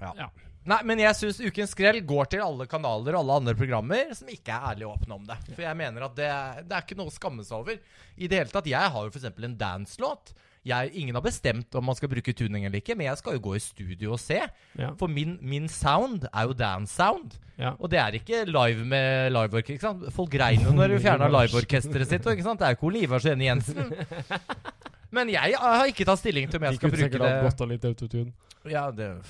Speaker 2: ja.
Speaker 1: Ja.
Speaker 2: Nei, men jeg syns Ukens skrell går til alle kanaler og alle andre programmer som ikke er ærlige og åpne om det. For jeg mener at det, det er ikke noe å skamme seg over. I det hele tatt, Jeg har jo f.eks. en dance-låt. Jeg, ingen har bestemt om man skal bruke tuning eller ikke, men jeg skal jo gå i studio og se.
Speaker 1: Ja.
Speaker 2: For min, min sound er jo dance-sound.
Speaker 1: Ja.
Speaker 2: Og det er ikke live med liveorkester. ikke sant? Folk grein jo når du fjerna liveorkesteret sitt. og Ikke sant? Det er jo ikke Ole Ivars og Jenny Jensen. Men jeg har ikke tatt stilling til om
Speaker 1: De
Speaker 2: jeg skal
Speaker 1: kunne
Speaker 2: bruke
Speaker 1: sikkert hatt
Speaker 2: det.
Speaker 1: godt av litt autotune.
Speaker 2: Ja, det,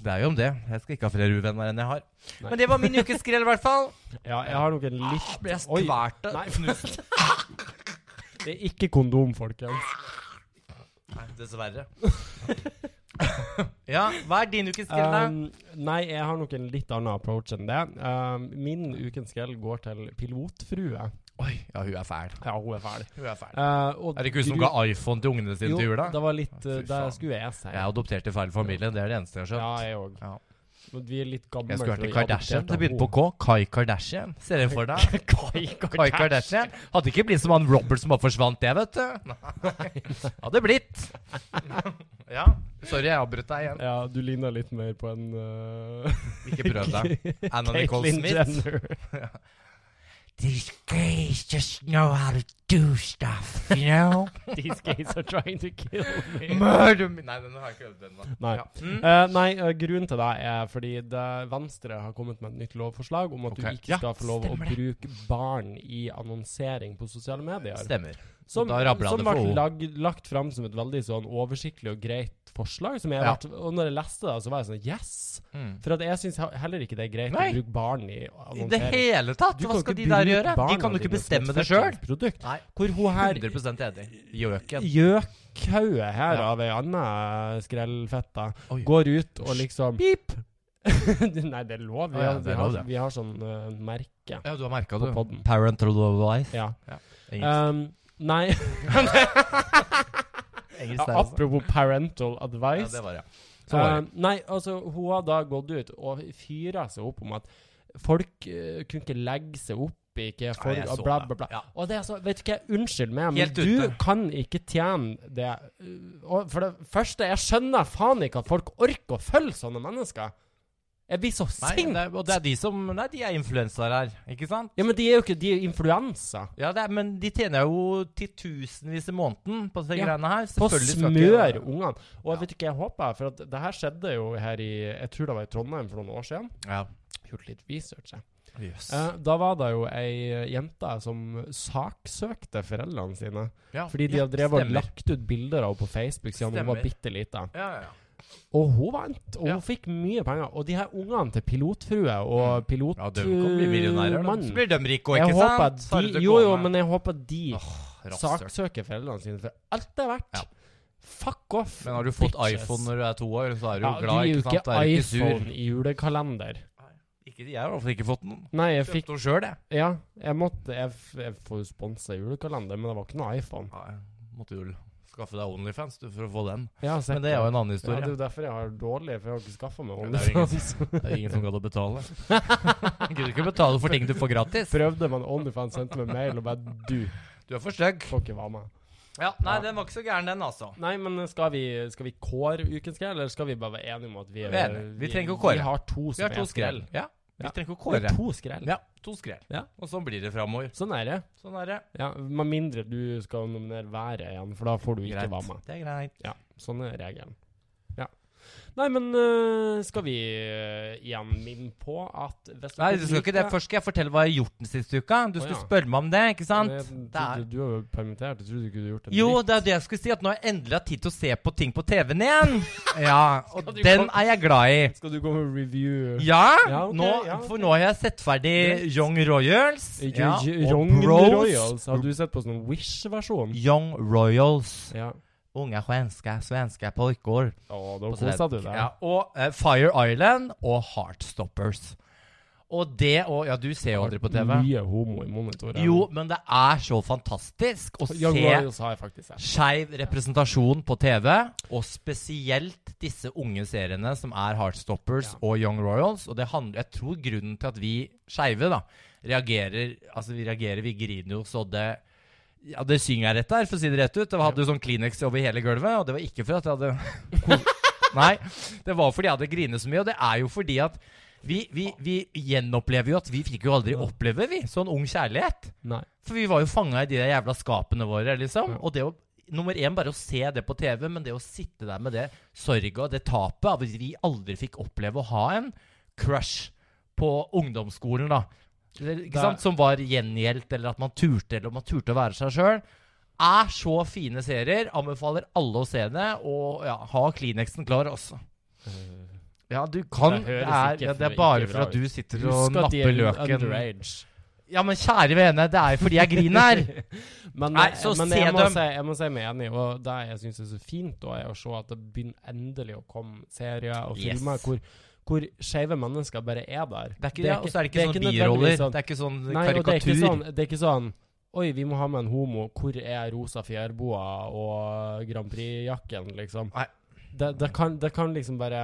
Speaker 2: det er jo om det. Jeg skal ikke ha flere uvenner enn jeg har.
Speaker 1: Nei.
Speaker 2: Men det var min ukes skrell, i hvert fall.
Speaker 1: Ja, jeg har nok en
Speaker 2: Da
Speaker 1: litt
Speaker 2: Ble jeg
Speaker 1: Oi,
Speaker 2: svært
Speaker 1: Nei.
Speaker 2: knust.
Speaker 1: det er ikke kondom, folkens.
Speaker 2: Nei, dessverre. ja, hva er din ukes skrell, da?
Speaker 1: Um, nei, jeg har nok en litt annen approach enn det. Um, min ukens skrell går til pilotfrue.
Speaker 2: Oi, ja, hun er fæl.
Speaker 1: Ja, hun er fæl.
Speaker 2: Hun er fæl.
Speaker 1: Uh, og
Speaker 2: Er det ikke hun som
Speaker 1: gru-
Speaker 2: ga iPhone til ungene sine til jula?
Speaker 1: Jo, det var litt
Speaker 2: Fy
Speaker 1: uh, Det
Speaker 2: faen.
Speaker 1: skulle jeg si.
Speaker 2: Jeg er adoptert i feil familie, det er det eneste jeg har skjønt.
Speaker 1: Ja, jeg òg.
Speaker 2: Ja.
Speaker 1: Men vi er litt gamle.
Speaker 2: Jeg skulle vært
Speaker 1: til
Speaker 2: i
Speaker 1: å bli
Speaker 2: Kardashian.
Speaker 1: adoptert
Speaker 2: Det
Speaker 1: av
Speaker 2: begynte på
Speaker 1: henne.
Speaker 2: K. Kai Kardashian. Ser dere for deg? Kai Kardashian. Hadde ikke blitt som han Robert som bare forsvant, det, vet du. Nei. Hadde blitt. Ja. Sorry, jeg avbrøt deg igjen.
Speaker 1: Ja, du ligner litt mer på en uh,
Speaker 2: Ikke prøv deg. Anna Nicole
Speaker 1: Caitlyn
Speaker 2: Smith.
Speaker 1: Jenner.
Speaker 2: These guys just know how to do stuff, you know?
Speaker 1: These guys are trying to kill me.
Speaker 2: Murder me Nei, den har jeg ikke øvd ennå.
Speaker 1: Nei.
Speaker 2: Ja. Mm.
Speaker 1: Eh, nei, eh, grunnen til det er fordi det Venstre har kommet med et nytt lovforslag om at
Speaker 2: Ok.
Speaker 1: du
Speaker 2: Ja,
Speaker 1: ikke skal få lov å
Speaker 2: stemmer det.
Speaker 1: bruke barn i annonsering på sosiale medier.
Speaker 2: Stemmer.
Speaker 1: Som,
Speaker 2: Da rabla
Speaker 1: som
Speaker 2: det for
Speaker 1: ble
Speaker 2: henne.
Speaker 1: lag, lagt fram som et veldig sånn oversiktlig og greit forslag. Som jeg
Speaker 2: Ja.
Speaker 1: vært, og når jeg leste det, så var jeg sånn Yes!
Speaker 2: Mm.
Speaker 1: For at jeg syns heller ikke det er greit
Speaker 2: Nei.
Speaker 1: å bruke barn i
Speaker 2: I det
Speaker 1: annonsering.
Speaker 2: hele tatt!
Speaker 1: Du
Speaker 2: Hva
Speaker 1: kan ikke
Speaker 2: skal de der
Speaker 1: bruke
Speaker 2: gjøre? De
Speaker 1: barna
Speaker 2: kan jo
Speaker 1: dine
Speaker 2: ikke
Speaker 1: som et
Speaker 2: bestemme det sjøl.
Speaker 1: forskningsprodukt.
Speaker 2: Nei.
Speaker 1: Hvor hun her
Speaker 2: 100 enig. Gjøken.
Speaker 1: gjøkhauget her
Speaker 2: Ja.
Speaker 1: av ei anna skrellfette
Speaker 2: Oi.
Speaker 1: går ut og liksom
Speaker 2: Pip!
Speaker 1: Nei, det er lov. Vi
Speaker 2: Å ja,
Speaker 1: har,
Speaker 2: det er
Speaker 1: vi
Speaker 2: lov,
Speaker 1: har,
Speaker 2: det.
Speaker 1: vi har sånn eh, merke
Speaker 2: Ja, du har merka
Speaker 1: på
Speaker 2: det.
Speaker 1: podden.
Speaker 2: Parental advice.
Speaker 1: Ja.
Speaker 2: Engelsk,
Speaker 1: Um, nei,
Speaker 2: engelsk der også.
Speaker 1: apropos parental
Speaker 2: Ja,
Speaker 1: advice.
Speaker 2: det var det. Så var det.
Speaker 1: Eh, nei, altså, hun har da gått ut og fyra seg opp om at folk eh, kunne ikke legge seg opp i hva folk
Speaker 2: jeg
Speaker 1: og
Speaker 2: så
Speaker 1: bla,
Speaker 2: det.
Speaker 1: bla, bla.
Speaker 2: Ja.
Speaker 1: Og det er så, vet du hva, unnskyld meg, men
Speaker 2: Helt
Speaker 1: du
Speaker 2: ute.
Speaker 1: kan ikke tjene det Eh, og For det første, jeg skjønner faen ikke at folk orker å følge sånne mennesker. Jeg blir så
Speaker 2: Nei,
Speaker 1: sint!
Speaker 2: det er, og det er de som Nei, de er influensaere her, ikke sant?
Speaker 1: Ja, men de er jo ikke De er influensa.
Speaker 2: Ja, det er, men de tjener jo titusenvis i måneden på disse
Speaker 1: Ja,
Speaker 2: greiene her.
Speaker 1: På
Speaker 2: Selvfølgelig skal
Speaker 1: smør,
Speaker 2: ikke-
Speaker 1: ungene. Og jeg
Speaker 2: Ja.
Speaker 1: vet ikke, jeg håper For at det her skjedde jo her i Jeg tror det var i Trondheim for noen år siden.
Speaker 2: Ja.
Speaker 1: Gjort litt research, jeg.
Speaker 2: Jøss.
Speaker 1: Eh, da var det jo ei jente som saksøkte foreldrene sine.
Speaker 2: Ja,
Speaker 1: Fordi de
Speaker 2: ja,
Speaker 1: hadde drevet og
Speaker 2: stemmer.
Speaker 1: lagt ut bilder av henne på Facebook siden hun var
Speaker 2: Stemmer.
Speaker 1: bitte lita.
Speaker 2: Ja, ja, ja.
Speaker 1: Og hun vant, og
Speaker 2: Ja.
Speaker 1: hun fikk mye penger. Og de her ungene til pilotfrue og
Speaker 2: ja de kan bli millionærer. da. Så
Speaker 1: pilotmannen
Speaker 2: blir de rike òg,
Speaker 1: jeg
Speaker 2: ikke
Speaker 1: håper
Speaker 2: sant?
Speaker 1: at
Speaker 2: Så er det
Speaker 1: de,
Speaker 2: til
Speaker 1: jo,
Speaker 2: å gå
Speaker 1: jo,
Speaker 2: med.
Speaker 1: men jeg håper de
Speaker 2: Åh, rasshøl.
Speaker 1: saksøker foreldrene sine for alt det er verdt.
Speaker 2: Ja.
Speaker 1: Fuck off.
Speaker 2: Men har du fått
Speaker 1: bitches.
Speaker 2: iPhone når du er to år, så er du
Speaker 1: ja,
Speaker 2: jo glad,
Speaker 1: du
Speaker 2: ikke sant? Da
Speaker 1: er
Speaker 2: er du
Speaker 1: jo
Speaker 2: ikke
Speaker 1: ikke
Speaker 2: sur.
Speaker 1: iPhone i julekalender.
Speaker 2: Ikke, jeg har i hvert fall ikke fått den.
Speaker 1: Nei, jeg fikk
Speaker 2: Kjøpte den sjøl, jeg.
Speaker 1: Ja, jeg måtte Jeg, f- jeg får jo sponsa julekalender, men det var ikke noe iPhone.
Speaker 2: Nei, måtte jo skaffe deg Onlyfans du, for å få den.
Speaker 1: Jeg har sett
Speaker 2: Men det er jo en annen
Speaker 1: Ja, det er
Speaker 2: historie.
Speaker 1: jo derfor jeg har dårlig, for jeg har ikke skaffa meg
Speaker 2: Ja, det er jo
Speaker 1: OnlyFans.
Speaker 2: Det er ingen som gadd å betale. Du kan ikke betale for ting du får gratis.
Speaker 1: Prøvde man OnlyFans, sendte meg mail og bare Du
Speaker 2: Du er for stygg.
Speaker 1: får ikke være med.
Speaker 2: Ja, nei,
Speaker 1: Ja.
Speaker 2: den var ikke så gæren, den, altså.
Speaker 1: Nei, men skal vi, skal vi kåre ukens skrell, eller skal vi bare være enige om at vi er
Speaker 2: Vi er enige. Vi trenger ikke å kåre.
Speaker 1: Vi har to som
Speaker 2: Vi har to
Speaker 1: er
Speaker 2: skrell. Ja. Vi
Speaker 1: Ja.
Speaker 2: trenger ikke å
Speaker 1: Vi har
Speaker 2: kåre.
Speaker 1: to skrell.
Speaker 2: Ja, to skrell.
Speaker 1: Ja.
Speaker 2: Og sånn blir det framover.
Speaker 1: Sånn er det.
Speaker 2: Sånn er det.
Speaker 1: Ja, Med mindre du skal nominere været igjen, for da får du ikke
Speaker 2: Greit.
Speaker 1: være med.
Speaker 2: Det er greit.
Speaker 1: Ja, sånn er regelen. Ja. Nei, men øh, skal vi øh, igjen minne på at hvis
Speaker 2: Nei, du skal ikke det. Først skal jeg fortelle hva jeg har gjort den siste uka. Du
Speaker 1: Å,
Speaker 2: skulle
Speaker 1: ja.
Speaker 2: spørre meg om det, ikke sant?
Speaker 1: Eh, Du,
Speaker 2: Det er-
Speaker 1: du, du er jo permittert, jeg trodde du kunne gjort det.
Speaker 2: Jo, det er jo det jeg skulle si, at nå har jeg endelig hatt tid til å se på ting på TV-en igjen. Ja, og
Speaker 1: Skal du
Speaker 2: den
Speaker 1: komme-
Speaker 2: er jeg glad i.
Speaker 1: Skal du gå med review?
Speaker 2: Ja,
Speaker 1: Ja, ok,
Speaker 2: nå,
Speaker 1: ja, ok.
Speaker 2: for nå har jeg sett ferdig
Speaker 1: Yes.
Speaker 2: Young Royals. Ja, og
Speaker 1: Young
Speaker 2: Bros.
Speaker 1: Royals. Har du sett på sånn Wish-versjon?
Speaker 2: Young Royals.
Speaker 1: Ja.
Speaker 2: Unge svenske, svenske pojkor.
Speaker 1: Å, da
Speaker 2: På
Speaker 1: kosa du
Speaker 2: svensk.
Speaker 1: deg.
Speaker 2: Ja, og eh, Fire Island og Heartstoppers. Og det og Ja, du ser jo aldri på TV.
Speaker 1: Mye homo i monitoren.
Speaker 2: Jo, men det er så fantastisk å
Speaker 1: Young
Speaker 2: se
Speaker 1: Royals har jeg faktisk sett.
Speaker 2: skeiv representasjon på TV, og spesielt disse unge seriene som er Heartstoppers
Speaker 1: Ja.
Speaker 2: og Young Royals. Og det handler, jeg tror grunnen til at vi skeive da, reagerer Altså, vi reagerer, vi griner jo så det ja, Det synger jeg rett der, for å si det rett ut. Det hadde jo sånn Kleenex over hele gulvet, og det var ikke for at jeg hadde Nei, det var fordi jeg hadde grinet så mye, og det er jo fordi at vi, vi, vi gjenopplever jo at vi fikk jo aldri oppleve, vi, sånn ung kjærlighet.
Speaker 1: Nei.
Speaker 2: For vi var jo fanga i de der jævla skapene våre, liksom.
Speaker 1: Ja.
Speaker 2: Og det å Nummer én, bare å se det på TV, men det å sitte der med det sorget og det tapet av at vi aldri fikk oppleve å ha en crush på ungdomsskolen, da. Eller,
Speaker 1: Det-
Speaker 2: Ikke sant? Som var gjengjeldt, eller at man turte, eller man turte å være seg sjøl. Er så fine serier. Anbefaler alle å se det. Og ja, ha Kleenexen klar også. Ja, du kan
Speaker 1: Det
Speaker 2: Det
Speaker 1: høres
Speaker 2: er,
Speaker 1: ikke
Speaker 2: ja, det er
Speaker 1: for-
Speaker 2: bare
Speaker 1: ikke bra
Speaker 2: for at du sitter og
Speaker 1: Husk at de
Speaker 2: napper
Speaker 1: er
Speaker 2: løken.
Speaker 1: underage.
Speaker 2: Ja, men kjære vene, det er jo fordi jeg griner!
Speaker 1: Men,
Speaker 2: Nei,
Speaker 1: eh,
Speaker 2: så
Speaker 1: men
Speaker 2: se
Speaker 1: jeg, må
Speaker 2: dem.
Speaker 1: si, jeg må si meg enig, og det jeg syns er så fint, da, er å se at det begynner endelig å komme serier og
Speaker 2: Yes.
Speaker 1: filmer hvor, hvor skeive mennesker bare er der.
Speaker 2: Det er ikke, ja, og så er det ikke sånne biroller.
Speaker 1: nødvendigvis sånn-
Speaker 2: det er ikke sånn
Speaker 1: Nei, og det er ikke
Speaker 2: karikatur.
Speaker 1: sånn, det er ikke sånn Oi, vi må ha med en homo. Hvor er rosa fjærboa og Grand Prix-jakken, liksom?
Speaker 2: Nei.
Speaker 1: Det, det, kan, det kan liksom bare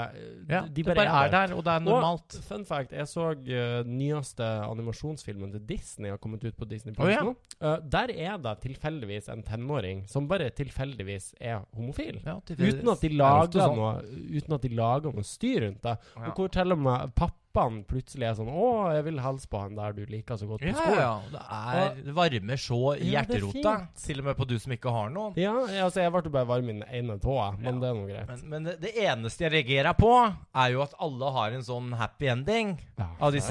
Speaker 2: ja,
Speaker 1: De bare,
Speaker 2: er der, og det er normalt.
Speaker 1: Og, fun fact, jeg så eh, nyeste animasjonsfilmen til Disney har kommet ut på Disney Plus
Speaker 2: Å, ja.
Speaker 1: nå. Eh, der er det tilfeldigvis en tenåring som bare tilfeldigvis er homofil.
Speaker 2: Ja, det-
Speaker 1: Uten at de
Speaker 2: det er ofte
Speaker 1: lager
Speaker 2: sånn.
Speaker 1: noe Uten at de lager noe styr rundt det.
Speaker 2: Ja.
Speaker 1: Og hvor til og med pappaen plutselig er sånn 'Å, jeg vil hilse på han der du liker så godt på
Speaker 2: Ja, ja,
Speaker 1: skolen'.
Speaker 2: ja. Det, er, det varmer så i
Speaker 1: Ja, det er
Speaker 2: hjerterota.
Speaker 1: fint.
Speaker 2: Til og med på du som ikke har noen.
Speaker 1: Ja, jeg- altså jeg ble jo bare varm i den ene tåa, men
Speaker 2: Ja.
Speaker 1: det er nå greit.
Speaker 2: Men, men det, det eneste jeg reagerer på, er jo at alle har en sånn happy ending
Speaker 1: Ja.
Speaker 2: av disse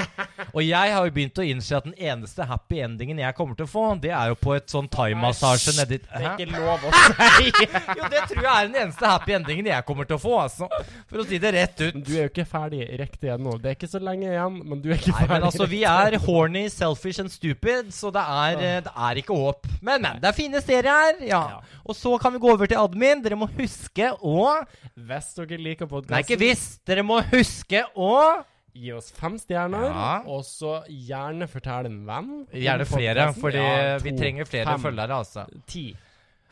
Speaker 2: her. Og jeg har jo begynt å innse at den eneste happy endingen jeg kommer til å få, det er jo på et sånn thaimassasje nedi
Speaker 1: Det er
Speaker 2: Hæ?
Speaker 1: ikke lov å si!
Speaker 2: Jo, det tror jeg er den eneste happy endingen jeg kommer til å få, altså. For å si det rett ut.
Speaker 1: Men du er jo ikke ferdig riktig ennå. Det er ikke så lenge igjen, men du er ikke
Speaker 2: Nei,
Speaker 1: ferdig.
Speaker 2: men altså, vi er horny, selfish and stupid, så det er, eh, det er ikke håp. Men, men, det er fine serier her. Ja.
Speaker 1: Ja.
Speaker 2: Og så kan vi gå over til admin. Dere må huske å
Speaker 1: Hvis dere liker
Speaker 2: Nei, ikke
Speaker 1: podkasten,
Speaker 2: hvis. Dere må huske å
Speaker 1: gi oss fem stjerner.
Speaker 2: Ja.
Speaker 1: Og så gjerne fortell en venn. om
Speaker 2: Gjerne flere,
Speaker 1: podcasten.
Speaker 2: fordi
Speaker 1: Ja,
Speaker 2: vi
Speaker 1: to,
Speaker 2: trenger flere
Speaker 1: fem,
Speaker 2: følgere, altså.
Speaker 1: Ti.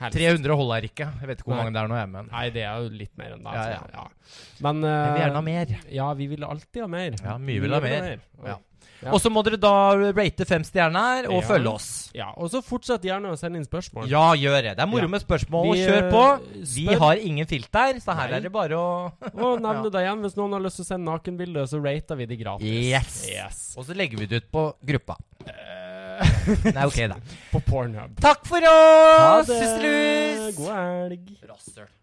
Speaker 1: Helst.
Speaker 2: 300 holder ikke. Jeg vet ikke hvor
Speaker 1: Nei.
Speaker 2: mange det er nå, jeg, men
Speaker 1: Nei, det er jo litt mer enn det.
Speaker 2: Ja,
Speaker 1: altså. Ja. Men
Speaker 2: jeg vil gjerne ha
Speaker 1: eh,
Speaker 2: mer.
Speaker 1: ja, vi vil alltid ha mer.
Speaker 2: Ja, mye vil ha
Speaker 1: Vi
Speaker 2: mer.
Speaker 1: Ja.
Speaker 2: Ja.
Speaker 1: Ja.
Speaker 2: Og så må dere da rate fem stjerner og
Speaker 1: Ja.
Speaker 2: følge oss.
Speaker 1: Ja, og så fortsett gjerne å sende inn spørsmål.
Speaker 2: Ja, gjør det. Det er moro
Speaker 1: Ja.
Speaker 2: med spørsmål.
Speaker 1: Vi,
Speaker 2: Kjør på.
Speaker 1: eh,
Speaker 2: Vi
Speaker 1: spør-
Speaker 2: har ingen filter, så her
Speaker 1: Nei.
Speaker 2: er det bare å
Speaker 1: Og nevne
Speaker 2: Ja.
Speaker 1: det igjen. Hvis noen har lyst til å sende nakenbilde, så rater vi det gratis.
Speaker 2: Yes. Og så legger vi det ut på gruppa. Nei, ok, da.
Speaker 1: På Pornhub.
Speaker 2: Takk for oss,
Speaker 1: det!
Speaker 2: Sysselus!
Speaker 1: God helg.
Speaker 2: Rasshøl.